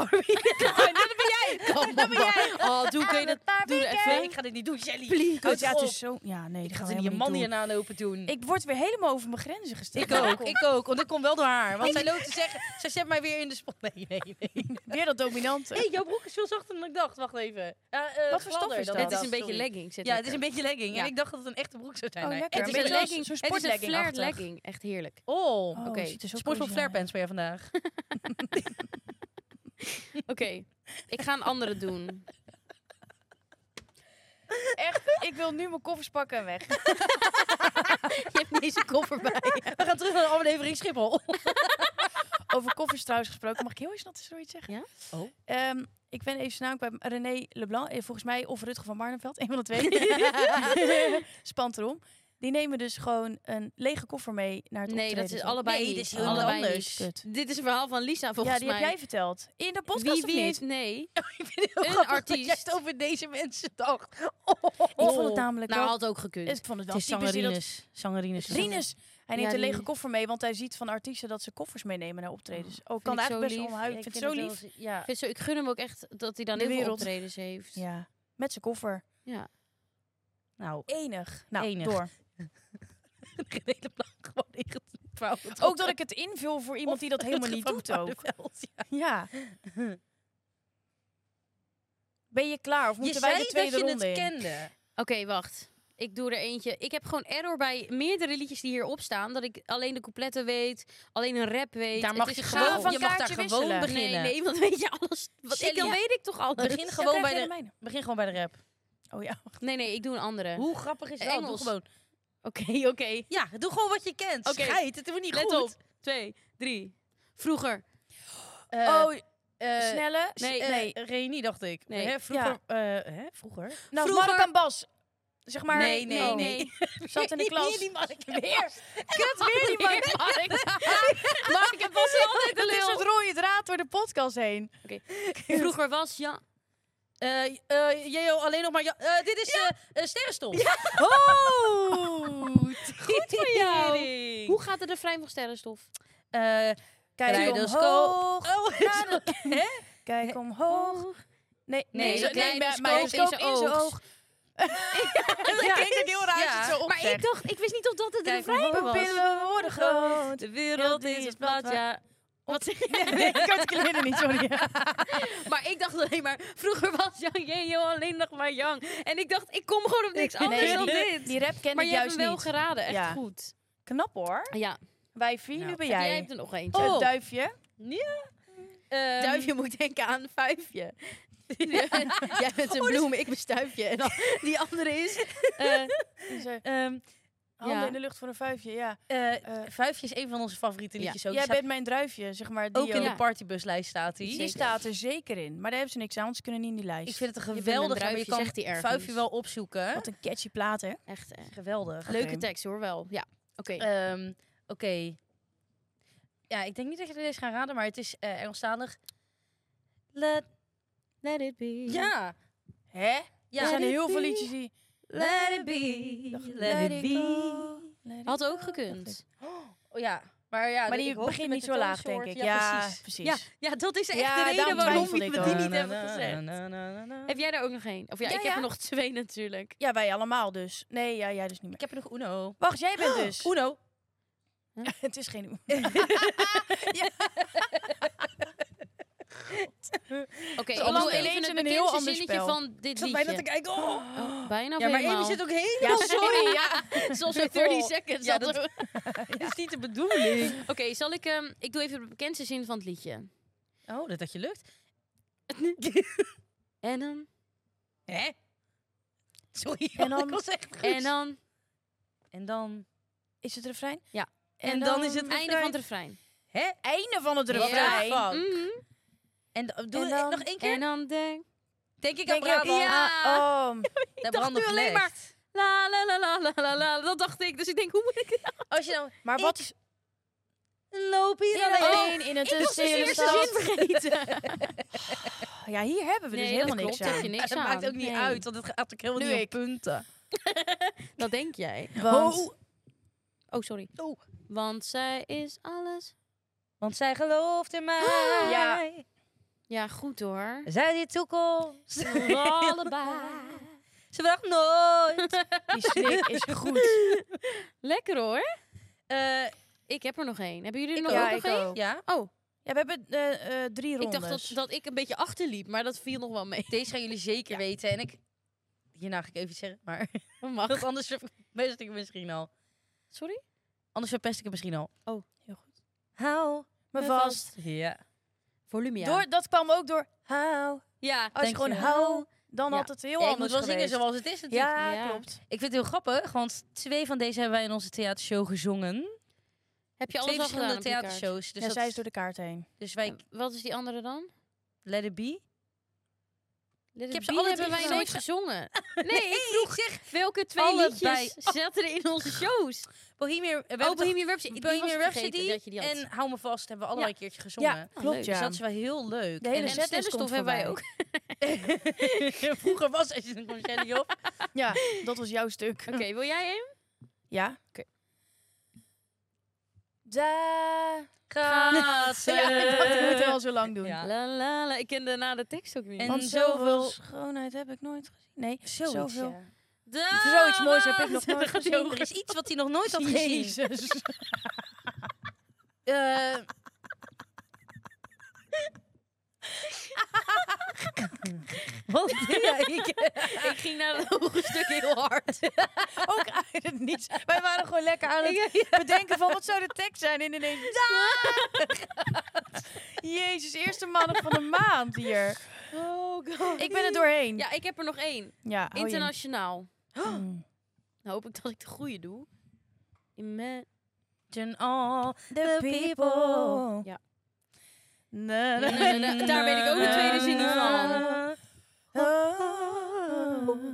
Speaker 3: Barbie.
Speaker 4: Oh, Oh, doe, kun je dat... Doe er even.
Speaker 3: Nee, ik ga dit niet doen, Shelly.
Speaker 1: Please.
Speaker 3: Houd
Speaker 1: Oh, ja,
Speaker 3: op.
Speaker 1: het is zo... Ja, nee, die
Speaker 3: Gaat
Speaker 1: gaan
Speaker 3: ze
Speaker 1: we
Speaker 3: die
Speaker 1: helemaal
Speaker 3: een
Speaker 1: niet
Speaker 3: man
Speaker 1: doen.
Speaker 3: hier aan open doen?
Speaker 1: Ik word weer helemaal over mijn grenzen gesteld.
Speaker 3: Ik ook, ik ook. Want dat komt wel door haar. Want zij loopt te zeggen, zij zet mij weer in de spot. [LAUGHS] Nee, nee, nee.
Speaker 1: Weer dat
Speaker 3: [LAUGHS]
Speaker 1: dominante.
Speaker 3: Hé, jouw broek is veel zachter dan ik dacht. Wacht even. Ja, eh,
Speaker 1: Wat voor stof
Speaker 3: gladder
Speaker 1: is
Speaker 3: dan
Speaker 1: dat?
Speaker 3: ik
Speaker 4: Het is
Speaker 3: dacht,
Speaker 4: een beetje
Speaker 3: sorry.
Speaker 4: legging. Zit
Speaker 3: Ja, het is
Speaker 4: lekker.
Speaker 3: een beetje legging.
Speaker 4: Ja.
Speaker 3: En ik dacht dat het een echte broek zou zijn.
Speaker 1: Oh,
Speaker 3: Nee.
Speaker 1: lekker.
Speaker 4: Het is
Speaker 1: Een
Speaker 4: een
Speaker 1: beetje
Speaker 4: legging.
Speaker 1: zo'n
Speaker 4: Het is een
Speaker 1: sportlegging
Speaker 4: flared
Speaker 1: achtig.
Speaker 4: legging. Echt heerlijk.
Speaker 3: Oh,
Speaker 1: Oh,
Speaker 3: oké.
Speaker 1: ziet er zo
Speaker 3: Sportful
Speaker 1: cozy
Speaker 3: flare pants
Speaker 1: uit.
Speaker 3: ben je vandaag.
Speaker 4: [LAUGHS] Oké, ik ga een andere doen.
Speaker 1: Echt, ik wil nu mijn koffers pakken en weg.
Speaker 4: [LAUGHS] Je hebt niet eens een koffer [LAUGHS] bij.
Speaker 3: We gaan terug naar de aflevering Schiphol.
Speaker 1: Over koffers trouwens gesproken. Mag ik heel eens nog zoiets zeggen?
Speaker 4: Ja?
Speaker 3: Oh.
Speaker 1: Ehm, ik ben even snel bij René Leblanc. eh, Volgens mij of Rutger van Marneveld. Een van de
Speaker 4: [LAUGHS]
Speaker 1: twee. Spant erom. Die nemen dus gewoon een lege koffer mee naar het
Speaker 4: Nee, dat
Speaker 1: optreden
Speaker 4: is
Speaker 1: toe.
Speaker 4: allebei
Speaker 3: Nee,
Speaker 4: niet.
Speaker 3: dit is heel
Speaker 4: allebei
Speaker 1: anders.
Speaker 4: niet.
Speaker 1: Kut.
Speaker 4: Dit is een verhaal van Lisa volgens
Speaker 1: ja, die
Speaker 4: mij.
Speaker 1: heb jij verteld. In de podcast of
Speaker 4: wie, wie
Speaker 1: niet? [LAUGHS]
Speaker 4: heeft nee?
Speaker 3: Een
Speaker 4: artiest.
Speaker 3: over deze mensen dacht.
Speaker 1: Ik vond het namelijk
Speaker 4: Nou,
Speaker 1: wel...
Speaker 4: had ook gekund.
Speaker 1: Ik vond het wel
Speaker 3: Het is
Speaker 1: typisch die dat-
Speaker 3: zangerines. Zangerines.
Speaker 1: Rinus, hij neemt
Speaker 4: Ja,
Speaker 1: een lege
Speaker 4: die-
Speaker 1: koffer mee, want hij ziet van artiesten dat ze koffers meenemen naar optredens. Oh, ik kan
Speaker 4: ik
Speaker 1: eigenlijk
Speaker 4: zo
Speaker 1: best
Speaker 4: lief.
Speaker 1: wel omhuilen. Ik vind het zo lief.
Speaker 3: Ja.
Speaker 4: Ik vind zo, ik gun hem ook echt dat hij dan
Speaker 1: De
Speaker 4: heel veel
Speaker 1: wereld.
Speaker 4: optredens heeft.
Speaker 1: Ja, met zijn koffer.
Speaker 4: Ja.
Speaker 3: Nou,
Speaker 1: Enig. Nou,
Speaker 3: Enig.
Speaker 1: door.
Speaker 3: de hele plan gewoon ingetrouwd.
Speaker 1: Ook dat ik het invul voor
Speaker 3: [LAUGHS]
Speaker 1: iemand die dat helemaal niet doet ook. Ja. Ben je klaar of
Speaker 3: Je
Speaker 1: moeten wij
Speaker 3: zei
Speaker 1: de tweede
Speaker 3: dat je
Speaker 1: ronde
Speaker 3: het
Speaker 1: in?
Speaker 3: kende.
Speaker 4: Oké, wacht. Ik doe er eentje. Ik heb gewoon error bij meerdere liedjes die hierop staan. Dat ik alleen de coupletten weet, alleen een rap weet.
Speaker 3: Daar
Speaker 4: Het
Speaker 3: mag
Speaker 4: is
Speaker 3: je
Speaker 4: een
Speaker 3: gewoon,
Speaker 1: gaaf van
Speaker 3: je mag daar
Speaker 1: kaartje
Speaker 3: gewoon
Speaker 1: wisselen.
Speaker 3: beginnen.
Speaker 4: Nee, nee, want weet je alles. Wat ik,
Speaker 3: Shelly,
Speaker 4: dan
Speaker 3: ja.
Speaker 4: weet ik toch alles.
Speaker 3: Begin
Speaker 1: Ja,
Speaker 3: gewoon
Speaker 1: Oh, krijg
Speaker 3: bij
Speaker 1: jij
Speaker 3: de,
Speaker 1: mijne.
Speaker 3: begin gewoon bij de rap.
Speaker 1: Oh ja. wacht.
Speaker 4: Nee, nee, ik doe een andere. Oké,
Speaker 3: Hoe grappig is dat?
Speaker 4: Engels.
Speaker 3: Doe gewoon.
Speaker 4: oké.
Speaker 3: Ja, doe gewoon wat je kent.
Speaker 4: Oké.
Speaker 3: Scheid, het wordt niet
Speaker 4: Let
Speaker 3: goed.
Speaker 4: op. Twee, drie. Vroeger.
Speaker 3: Eh,
Speaker 1: oh,
Speaker 3: eh,
Speaker 1: snelle.
Speaker 3: Nee,
Speaker 1: Nee, nee.
Speaker 3: eh, Reunie dacht ik.
Speaker 4: Nee.
Speaker 3: Hè, vroeger. eh, hè, vroeger?
Speaker 1: nou,
Speaker 4: vroeger-
Speaker 1: Mark en Bas. Zeg maar.
Speaker 3: Nee, nee,
Speaker 1: Oh,
Speaker 3: nee. [LAUGHS]
Speaker 1: Zat in de klas.
Speaker 3: Weer die Mark en Bas.
Speaker 1: Kut, weer die Mark. [LAUGHS]
Speaker 4: Mark en Bas is [LAUGHS] altijd de
Speaker 1: Het is
Speaker 4: lul.
Speaker 1: het rode draad door de podcast heen.
Speaker 4: Vroeger was ja.
Speaker 3: Eh, eh, Jeo, alleen nog maar. Ja- eh, dit is eh eh, Sterrenstof.
Speaker 1: Oh.
Speaker 4: Goed [LAUGHS] voor jou. Hoe gaat het refrein van Sterrenstof?
Speaker 3: Eh,
Speaker 1: Kijk
Speaker 3: Kaleidoscoop.
Speaker 1: omhoog.
Speaker 3: oh,
Speaker 1: Kijk omhoog. Nee,
Speaker 3: Nee,
Speaker 1: nee, zo- nee,
Speaker 4: kaleidoscoop
Speaker 1: mijn
Speaker 4: in
Speaker 1: scope
Speaker 4: zijn
Speaker 1: in zijn
Speaker 4: oog.
Speaker 3: [LAUGHS]
Speaker 1: oog. [LAUGHS] Dat klinkt ook heel raar als je het zo
Speaker 4: Maar ik
Speaker 1: opzegt.
Speaker 4: dacht, ik wist niet of dat het
Speaker 3: Kijk,
Speaker 4: refrein
Speaker 3: hoe
Speaker 4: was.
Speaker 1: Pillen worden groot.
Speaker 4: De wereld
Speaker 1: Heel
Speaker 4: is
Speaker 1: dicht,
Speaker 4: het plat,
Speaker 1: plat,
Speaker 4: ja. Wat zeg je?
Speaker 1: Nee, ik kan het kleden niet, sorry.
Speaker 4: Maar ik dacht alleen maar, vroeger was Yang Jejo alleen nog maar Yang. En ik dacht, ik kom gewoon op niks anders dan
Speaker 1: die,
Speaker 4: dit.
Speaker 1: die rap ken
Speaker 4: maar
Speaker 1: ik
Speaker 4: je hebt
Speaker 1: juist
Speaker 4: hem wel
Speaker 1: niet.
Speaker 4: geraden, echt
Speaker 1: Ja.
Speaker 4: goed.
Speaker 1: Knap hoor.
Speaker 4: Ja,
Speaker 1: Wij vier,
Speaker 3: Nou,
Speaker 1: nu ben
Speaker 4: jij.
Speaker 1: jij.
Speaker 4: hebt er nog eentje.
Speaker 1: Het
Speaker 3: Oh.
Speaker 1: duifje.
Speaker 3: Ehm,
Speaker 4: [LAUGHS] Duifje moet denken aan een vijfje. Jij bent een bloem, ik ben stuifje. En dan die andere is... eh,
Speaker 3: ehm,
Speaker 1: Handen
Speaker 4: Ja.
Speaker 1: in de lucht voor een vuifje, ja.
Speaker 3: eh, Vuifje is een van onze favoriete liedjes. Ook. Die
Speaker 1: Jij
Speaker 3: staat
Speaker 1: bent mijn druifje, zeg maar. Die,
Speaker 3: ook in
Speaker 4: Ja.
Speaker 3: de partybuslijst staat hij.
Speaker 1: die staat er zeker in. Maar daar hebben ze niks aan, want ze kunnen niet in die lijst.
Speaker 3: Ik vind het een
Speaker 4: bent
Speaker 3: geweldig.
Speaker 4: een
Speaker 3: maar je
Speaker 4: druifje,
Speaker 3: kan
Speaker 4: zegt hij ergens.
Speaker 3: Vuifje wel opzoeken.
Speaker 1: Wat een catchy plaat, hè?
Speaker 4: echt, echt.
Speaker 3: Geweldig.
Speaker 4: Leuke tekst hoor, wel. Ja, oké.
Speaker 3: Ehm, Oké. Ja, ik denk niet dat je deze gaat raden, maar het is eh, Engelstalig. Let,
Speaker 4: Let it be.
Speaker 3: ja.
Speaker 1: Hè?
Speaker 3: ja.
Speaker 1: er zijn heel veel liedjes die...
Speaker 3: Let it be. Let it be.
Speaker 1: Let it
Speaker 4: Had
Speaker 1: go.
Speaker 4: ook gekund.
Speaker 3: Oh ja.
Speaker 4: Maar ja,
Speaker 1: maar
Speaker 4: de-
Speaker 1: die
Speaker 4: ik hoopte
Speaker 1: begint
Speaker 4: met
Speaker 1: niet
Speaker 4: de
Speaker 1: zo laag, denk ik.
Speaker 4: toonsoort-
Speaker 1: Ja, precies.
Speaker 4: Ja, ja, dat is echt
Speaker 1: Ja,
Speaker 4: de reden
Speaker 1: daarom
Speaker 4: waarom we
Speaker 1: twijfelde
Speaker 4: die
Speaker 1: ik ook.
Speaker 4: niet hebben gezegd.
Speaker 3: gezegd.
Speaker 4: Heb jij daar ook nog één? Of ja,
Speaker 1: Ja,
Speaker 4: ik heb
Speaker 1: ja.
Speaker 4: er nog twee natuurlijk.
Speaker 1: Ja, wij allemaal dus. Nee, ja, jij dus niet
Speaker 3: Ik
Speaker 1: meer.
Speaker 3: heb er nog Uno.
Speaker 1: Wacht, jij bent dus.
Speaker 3: Uno.
Speaker 1: [LAUGHS] Het is geen...
Speaker 4: Oké,
Speaker 1: is
Speaker 4: ik doe
Speaker 1: allemaal
Speaker 4: even
Speaker 1: ineens
Speaker 4: Dus het
Speaker 1: een heel
Speaker 4: bekendste
Speaker 1: ander
Speaker 4: zinnetje
Speaker 1: spel.
Speaker 4: van dit
Speaker 6: zat bijna
Speaker 4: liedje.
Speaker 6: te kijken. Oh.
Speaker 3: [GASPS]
Speaker 4: Oh, bijna of
Speaker 6: Ja, maar Amy
Speaker 4: helemaal.
Speaker 6: zit ook heel...
Speaker 1: Ja, sorry.
Speaker 4: [LAUGHS]
Speaker 1: Ja.
Speaker 4: Zoals bij 30
Speaker 1: vol.
Speaker 4: seconds.
Speaker 1: Ja,
Speaker 4: dat [LAUGHS] is niet de bedoeling. Oké, zal ik... ehm, ik doe even de bekendste zin van het liedje.
Speaker 3: Oh, dat dat je lukt.
Speaker 4: En dan...
Speaker 3: Hè? Sorry,
Speaker 1: En
Speaker 3: en
Speaker 1: dan-
Speaker 3: dan, [LAUGHS] ik was echt goed.
Speaker 4: En dan...
Speaker 3: En dan...
Speaker 1: Is het refrein?
Speaker 4: Ja.
Speaker 1: En,
Speaker 3: En
Speaker 1: dan,
Speaker 3: is het
Speaker 4: Einde van het refrein.
Speaker 3: Hè?
Speaker 1: einde van het
Speaker 3: Ja.
Speaker 1: refrein.
Speaker 3: Ja.
Speaker 4: Mhm.
Speaker 3: En dan- doe
Speaker 1: En
Speaker 3: en
Speaker 1: dan-
Speaker 3: nog één keer.
Speaker 4: En dan denk...
Speaker 3: denk ik aan
Speaker 1: Denk je-
Speaker 3: Brabant. Ah,
Speaker 1: ja. oh.
Speaker 3: Daar
Speaker 4: dacht
Speaker 3: brandde
Speaker 4: nu alleen
Speaker 3: vlecht.
Speaker 4: La la la la la la la. Dat dacht ik. Dus ik denk, hoe moet ik...
Speaker 3: Als je dan... oh,
Speaker 1: Maar wat is
Speaker 3: Loop hier
Speaker 1: hier
Speaker 3: alleen.
Speaker 1: alleen in het
Speaker 4: Ik was de
Speaker 1: stille
Speaker 4: eerste
Speaker 1: stad?
Speaker 4: zin vergeten.
Speaker 1: [LAUGHS] Ja, hier hebben we dus helemaal
Speaker 4: dat
Speaker 1: niks
Speaker 4: klopt,
Speaker 1: aan.
Speaker 4: heb je
Speaker 3: Maar
Speaker 4: niks
Speaker 3: dat
Speaker 4: aan.
Speaker 3: maakt ook niet
Speaker 4: Nee.
Speaker 3: uit, want het gaat ook helemaal
Speaker 1: Nu
Speaker 3: niet
Speaker 1: ik.
Speaker 3: op punten.
Speaker 4: Dat denk jij.
Speaker 3: [LAUGHS]
Speaker 1: Want
Speaker 3: Oh,
Speaker 4: Oh, sorry.
Speaker 3: Oh.
Speaker 4: Want zij is alles.
Speaker 3: want zij gelooft in mij.
Speaker 1: Ja.
Speaker 4: Ja, goed hoor.
Speaker 3: Zij die
Speaker 4: [LAUGHS]
Speaker 3: toekomst.
Speaker 4: Allebei.
Speaker 3: Ze wacht nooit.
Speaker 1: die snik is goed.
Speaker 4: Lekker hoor.
Speaker 3: Eh,
Speaker 4: Ik heb er nog één. Hebben jullie er
Speaker 1: Ik
Speaker 4: nog
Speaker 1: ook.
Speaker 4: ook
Speaker 1: Ja,
Speaker 4: nog
Speaker 1: ik
Speaker 4: één?
Speaker 1: ook.
Speaker 3: ja,
Speaker 1: Ja, we hebben eh, eh, drie
Speaker 4: Ik
Speaker 1: rondes.
Speaker 4: dacht dat, dat ik een beetje achterliep, maar dat viel nog wel mee. [LAUGHS]
Speaker 3: deze gaan jullie zeker weten. En ik... Hierna ga ik even iets zeggen, maar... [LAUGHS]
Speaker 4: Mag.
Speaker 3: Want anders verpest ik het misschien al.
Speaker 4: Sorry?
Speaker 3: Anders verpest ik het misschien al.
Speaker 4: Oh, heel
Speaker 3: goed. Hou
Speaker 1: me vast.
Speaker 3: Ja.
Speaker 4: Volume
Speaker 1: Door, dat kwam ook door hou.
Speaker 4: Ja.
Speaker 1: Als
Speaker 3: Dank
Speaker 1: je gewoon
Speaker 3: je. "Oh,
Speaker 1: hou, dan
Speaker 3: Ja.
Speaker 1: had het heel
Speaker 3: Ja, ik moet
Speaker 1: anders
Speaker 3: wel zingen
Speaker 1: geweest.
Speaker 3: zoals het is natuurlijk.
Speaker 1: ja,
Speaker 4: Ja.
Speaker 1: klopt.
Speaker 3: Ik vind het heel grappig, want twee van deze hebben wij in onze theatershow gezongen.
Speaker 4: Heb je alles
Speaker 3: twee
Speaker 4: al gedaan
Speaker 3: verschillende
Speaker 4: op je kaart?
Speaker 3: theatershows. Dus,
Speaker 1: ja,
Speaker 3: dat-
Speaker 1: zij is door de kaart heen.
Speaker 3: dus wij
Speaker 4: Wat is die andere dan?
Speaker 3: Let It Be.
Speaker 4: Ik
Speaker 3: heb ze alle
Speaker 4: hebben
Speaker 3: drie
Speaker 4: wij
Speaker 3: gedaan.
Speaker 4: nooit gezongen. [LAUGHS] Nee, ik vroeg
Speaker 3: zeg
Speaker 4: welke twee
Speaker 3: allebei.
Speaker 4: liedjes zaten er in onze shows?
Speaker 3: Bohemian, we
Speaker 4: Oh,
Speaker 3: hebben
Speaker 4: Bohemian
Speaker 3: toch
Speaker 4: Rhapsody. Die was ik
Speaker 3: Bohemian
Speaker 4: vergeten
Speaker 3: Rhapsody
Speaker 4: dat je die had.
Speaker 3: en Hou Me Vast hebben we allebei een keertje gezongen.
Speaker 1: Ja,
Speaker 4: Oh,
Speaker 1: klopt
Speaker 4: leuk.
Speaker 3: Dus
Speaker 1: ja.
Speaker 3: dat is wel heel leuk.
Speaker 1: De hele
Speaker 4: en
Speaker 1: setlist
Speaker 4: Stellenstof
Speaker 1: komt
Speaker 4: hebben wij
Speaker 1: voorbij.
Speaker 4: ook.
Speaker 3: [LAUGHS] Vroeger was het een concert op.
Speaker 1: [LAUGHS]
Speaker 3: [LAUGHS]
Speaker 1: Ja, dat was jouw stuk.
Speaker 4: Oké, wil jij hem?
Speaker 1: Ja? Oké. Da.
Speaker 3: Gaat ze.
Speaker 1: Ja, ik dacht,
Speaker 3: [LAUGHS]
Speaker 1: we moeten wel zo lang doen.
Speaker 3: Ja.
Speaker 4: [LAUGHS] La la la. Ik kende na de tekst ook niet.
Speaker 3: En-
Speaker 1: Want zoveel
Speaker 3: zoveel-
Speaker 1: schoonheid heb ik nooit gezien. Nee,
Speaker 3: Zoiets,
Speaker 1: zoveel.
Speaker 3: ja.
Speaker 4: Da-
Speaker 1: Zoiets moois heb
Speaker 3: [LAUGHS]
Speaker 1: ik nog
Speaker 4: Dan
Speaker 1: nooit
Speaker 4: gaat hij
Speaker 1: gezien.
Speaker 4: ook
Speaker 3: Er is iets wat hij nog nooit had gezien.
Speaker 1: Jezus.
Speaker 3: Eh, Wat doe jij? Ik-
Speaker 4: Ik ging
Speaker 3: [LAUGHS]
Speaker 4: naar het hoge stuk heel hard.
Speaker 1: Ook uit het niets. Wij waren gewoon lekker aan het bedenken van wat zou de tekst zijn. En ineens... da! [LAUGHS] Jezus, eerste maandag van de maand hier.
Speaker 4: [LAUGHS] Oh god.
Speaker 1: Ik ben er doorheen.
Speaker 4: Ja, ik heb er nog één.
Speaker 1: Ja, Oh, hou je.
Speaker 4: Internationaal.
Speaker 1: Mm.
Speaker 4: Nou hoop ik dat ik de goede doe. Imme-
Speaker 3: Imagine [LAUGHS] all
Speaker 1: The people.
Speaker 4: Ja.
Speaker 1: Na, na,
Speaker 4: Nee, nee, nee, daar weet ik ook de tweede zin niet van.
Speaker 3: [LAUGHS]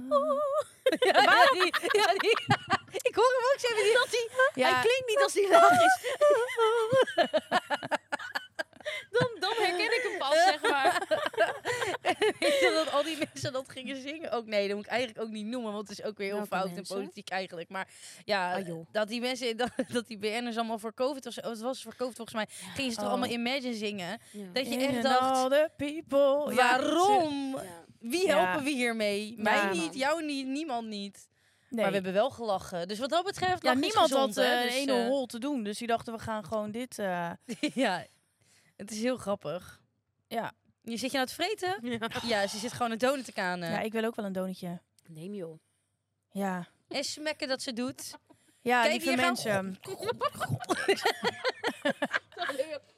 Speaker 3: Oh. Ja, ja, die, ja, die. [LAUGHS] Ik hoor hem ook zeggen die dat hij.
Speaker 1: Ja,
Speaker 3: Hij klinkt niet als hij laag is.
Speaker 4: [LAUGHS] Dan, dan herken ik hem pas, zeg maar.
Speaker 3: Weet je dat al die mensen dat gingen zingen? Ook nee, dat moet ik eigenlijk ook niet noemen, want het is ook weer heel
Speaker 4: Welke
Speaker 3: fout
Speaker 4: mensen?
Speaker 3: en politiek eigenlijk. Maar ja,
Speaker 4: Ah, joh.
Speaker 3: dat die mensen, dat, dat die BN'ers allemaal voor COVID was, het was voor COVID volgens mij, gingen ze toch
Speaker 1: Oh.
Speaker 3: allemaal Imagine zingen. Dat je
Speaker 1: in
Speaker 3: echt
Speaker 1: and
Speaker 3: dacht, "Oh,
Speaker 1: all the people. Ja,
Speaker 3: waarom?
Speaker 4: Ja.
Speaker 3: Wie
Speaker 1: Ja.
Speaker 3: helpen we hiermee? Mij
Speaker 1: man.
Speaker 3: niet, jou niet, niemand niet.
Speaker 1: nee.
Speaker 3: Maar we hebben wel gelachen. Dus wat dat betreft,
Speaker 1: ja,
Speaker 3: lachen is
Speaker 1: niemand
Speaker 3: gezond,
Speaker 1: had eh,
Speaker 3: hè?
Speaker 1: een
Speaker 3: Dus,
Speaker 1: ene
Speaker 3: eh,
Speaker 1: hol te doen. Dus die dachten, we gaan gewoon dit... eh,
Speaker 3: [LAUGHS] ja, het is heel grappig.
Speaker 1: Ja.
Speaker 3: Je zit je nou te vreten? Ja, ze zit gewoon een donut te kanen.
Speaker 1: Ja, ik wil ook wel een donutje.
Speaker 4: Neem joh.
Speaker 1: Ja.
Speaker 3: En smekken dat ze doet.
Speaker 1: Ja,
Speaker 3: Kijk,
Speaker 1: lieve
Speaker 3: hier gaan-
Speaker 1: mensen.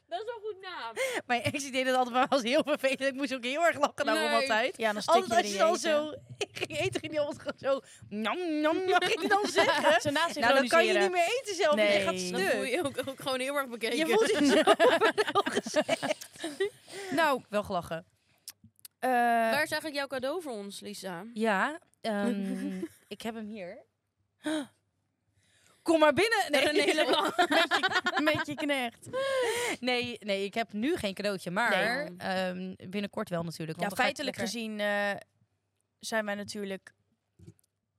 Speaker 4: Dat is een goed naam.
Speaker 3: Mijn ex die deed het altijd [LAUGHS] maar was heel vervelend. Ik moest ook heel erg lachen daarom
Speaker 4: Nee.
Speaker 3: altijd.
Speaker 1: Ja, dan stik
Speaker 3: Altijd
Speaker 1: je
Speaker 3: als je
Speaker 1: die
Speaker 3: dan
Speaker 1: eten.
Speaker 3: zo... [LAUGHS] Ik ging eten, ging die altijd gewoon zo... Nam, nam, nam, ging [LAUGHS] die dan zeggen.
Speaker 1: Ze naast
Speaker 3: nou, dan kan je niet
Speaker 1: meer.
Speaker 3: meer eten zelf. want Je
Speaker 1: Nee.
Speaker 3: gaat
Speaker 1: Dan
Speaker 4: Dan voel
Speaker 3: stuk.
Speaker 4: je ook, ook gewoon heel erg bekeken.
Speaker 3: Je voelt
Speaker 4: [LAUGHS]
Speaker 3: je zo
Speaker 1: Nou,
Speaker 3: Wel gelachen.
Speaker 1: eh,
Speaker 4: Waar is eigenlijk jouw cadeau voor ons, Lisa?
Speaker 3: Ja, [LAUGHS] ehm, ik heb hem hier. [GASPS] Kom maar binnen.
Speaker 4: [LAUGHS]
Speaker 3: Nee, nee,
Speaker 4: helemaal.
Speaker 1: met je [LAUGHS] knecht.
Speaker 3: nee, nee, ik heb nu geen cadeautje, maar
Speaker 4: Nee.
Speaker 3: ehm, binnenkort wel natuurlijk.
Speaker 1: Ja,
Speaker 3: Want dan ga ik
Speaker 1: feitelijk
Speaker 3: lekker-
Speaker 1: gezien eh, zijn wij natuurlijk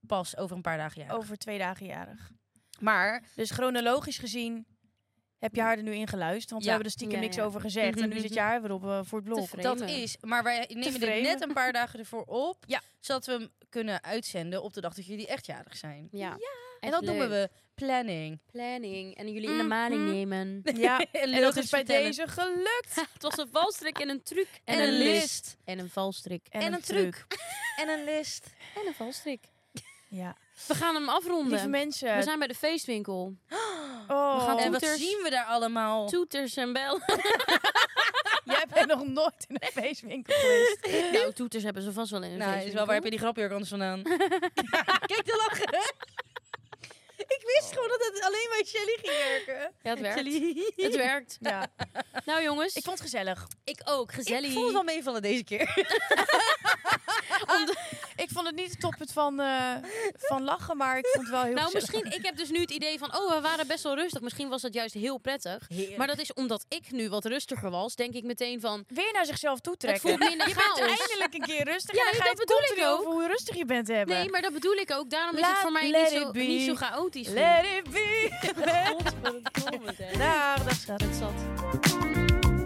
Speaker 3: pas over een paar dagen. Ja.
Speaker 1: over twee dagen jarig.
Speaker 3: Oh, Maar
Speaker 1: Dus chronologisch gezien heb je haar er nu in geluisterd? Want
Speaker 3: Ja.
Speaker 1: we hebben er stiekem
Speaker 4: Ja,
Speaker 1: niks
Speaker 4: ja.
Speaker 1: over gezegd. En nu
Speaker 4: Mhm.
Speaker 1: zit je haar weer op eh, voor het blog.
Speaker 4: vreemd.
Speaker 3: Dat
Speaker 4: Framen.
Speaker 3: is, maar wij nemen dit
Speaker 1: framen.
Speaker 3: net een paar dagen ervoor op.
Speaker 1: Ja.
Speaker 3: Zodat we hem kunnen uitzenden op de dag dat jullie echt jarig zijn.
Speaker 4: Ja.
Speaker 3: En dat noemen we planning.
Speaker 4: planning. En jullie in de maling
Speaker 1: Mhm.
Speaker 4: nemen.
Speaker 1: Ja, en dat
Speaker 3: Leuk
Speaker 1: is bij
Speaker 3: vertellen.
Speaker 1: deze gelukt.
Speaker 4: [LAUGHS] Het was een valstrik en een [LAUGHS] truc.
Speaker 3: En, een list.
Speaker 4: En een valstrik.
Speaker 3: En, een truc. en een list.
Speaker 4: En een valstrik.
Speaker 1: Ja.
Speaker 4: We gaan hem
Speaker 1: Lieve
Speaker 4: afronden.
Speaker 1: mensen.
Speaker 4: We zijn bij de feestwinkel.
Speaker 1: oh,
Speaker 4: gaan
Speaker 3: En wat
Speaker 4: Toeters.
Speaker 3: zien we daar allemaal?
Speaker 4: Toeters en bel.
Speaker 1: [LAUGHS] jij bent nog nooit in een feestwinkel
Speaker 3: [LAUGHS]
Speaker 1: geweest.
Speaker 4: [LAUGHS] nou, toeters hebben ze vast wel in een
Speaker 3: Nou, is wel, waar heb je die grapje anders vandaan?
Speaker 6: Kijk te lachen. ik wist gewoon dat het alleen bij Shelly ging werken.
Speaker 4: Ja, het werkt. Het [LAUGHS] werkt.
Speaker 1: Ja.
Speaker 4: Nou jongens,
Speaker 1: Ik vond het gezellig.
Speaker 4: ik ook.
Speaker 3: Ik voel het wel meevallen deze keer.
Speaker 1: Ik vond het niet het toppunt van, eh, van lachen, maar ik vond het wel heel
Speaker 4: Nou,
Speaker 1: gezellig.
Speaker 4: misschien, ik heb dus nu het idee van, oh, we waren best wel rustig. Misschien was dat juist heel prettig. Maar dat is omdat ik nu wat rustiger was, denk ik meteen van,
Speaker 1: Weer naar zichzelf toe
Speaker 4: het
Speaker 1: trekken.
Speaker 4: voelt [LAUGHS] minder chaos.
Speaker 1: Eindelijk een keer rustig.
Speaker 4: Ja,
Speaker 1: en dan ga je
Speaker 4: dat
Speaker 1: het
Speaker 4: bedoel ik
Speaker 1: continu
Speaker 4: ook.
Speaker 1: over hoe rustig je bent te hebben.
Speaker 4: Nee, maar dat bedoel ik ook. Daarom is
Speaker 1: Laat-
Speaker 4: het voor mij
Speaker 1: let
Speaker 4: niet zo,
Speaker 1: it be.
Speaker 4: niet zo chaotisch. [LAUGHS]
Speaker 1: Let it be.
Speaker 4: Godverdomme, hè.
Speaker 1: Dag, dag schat.
Speaker 4: Dat zat.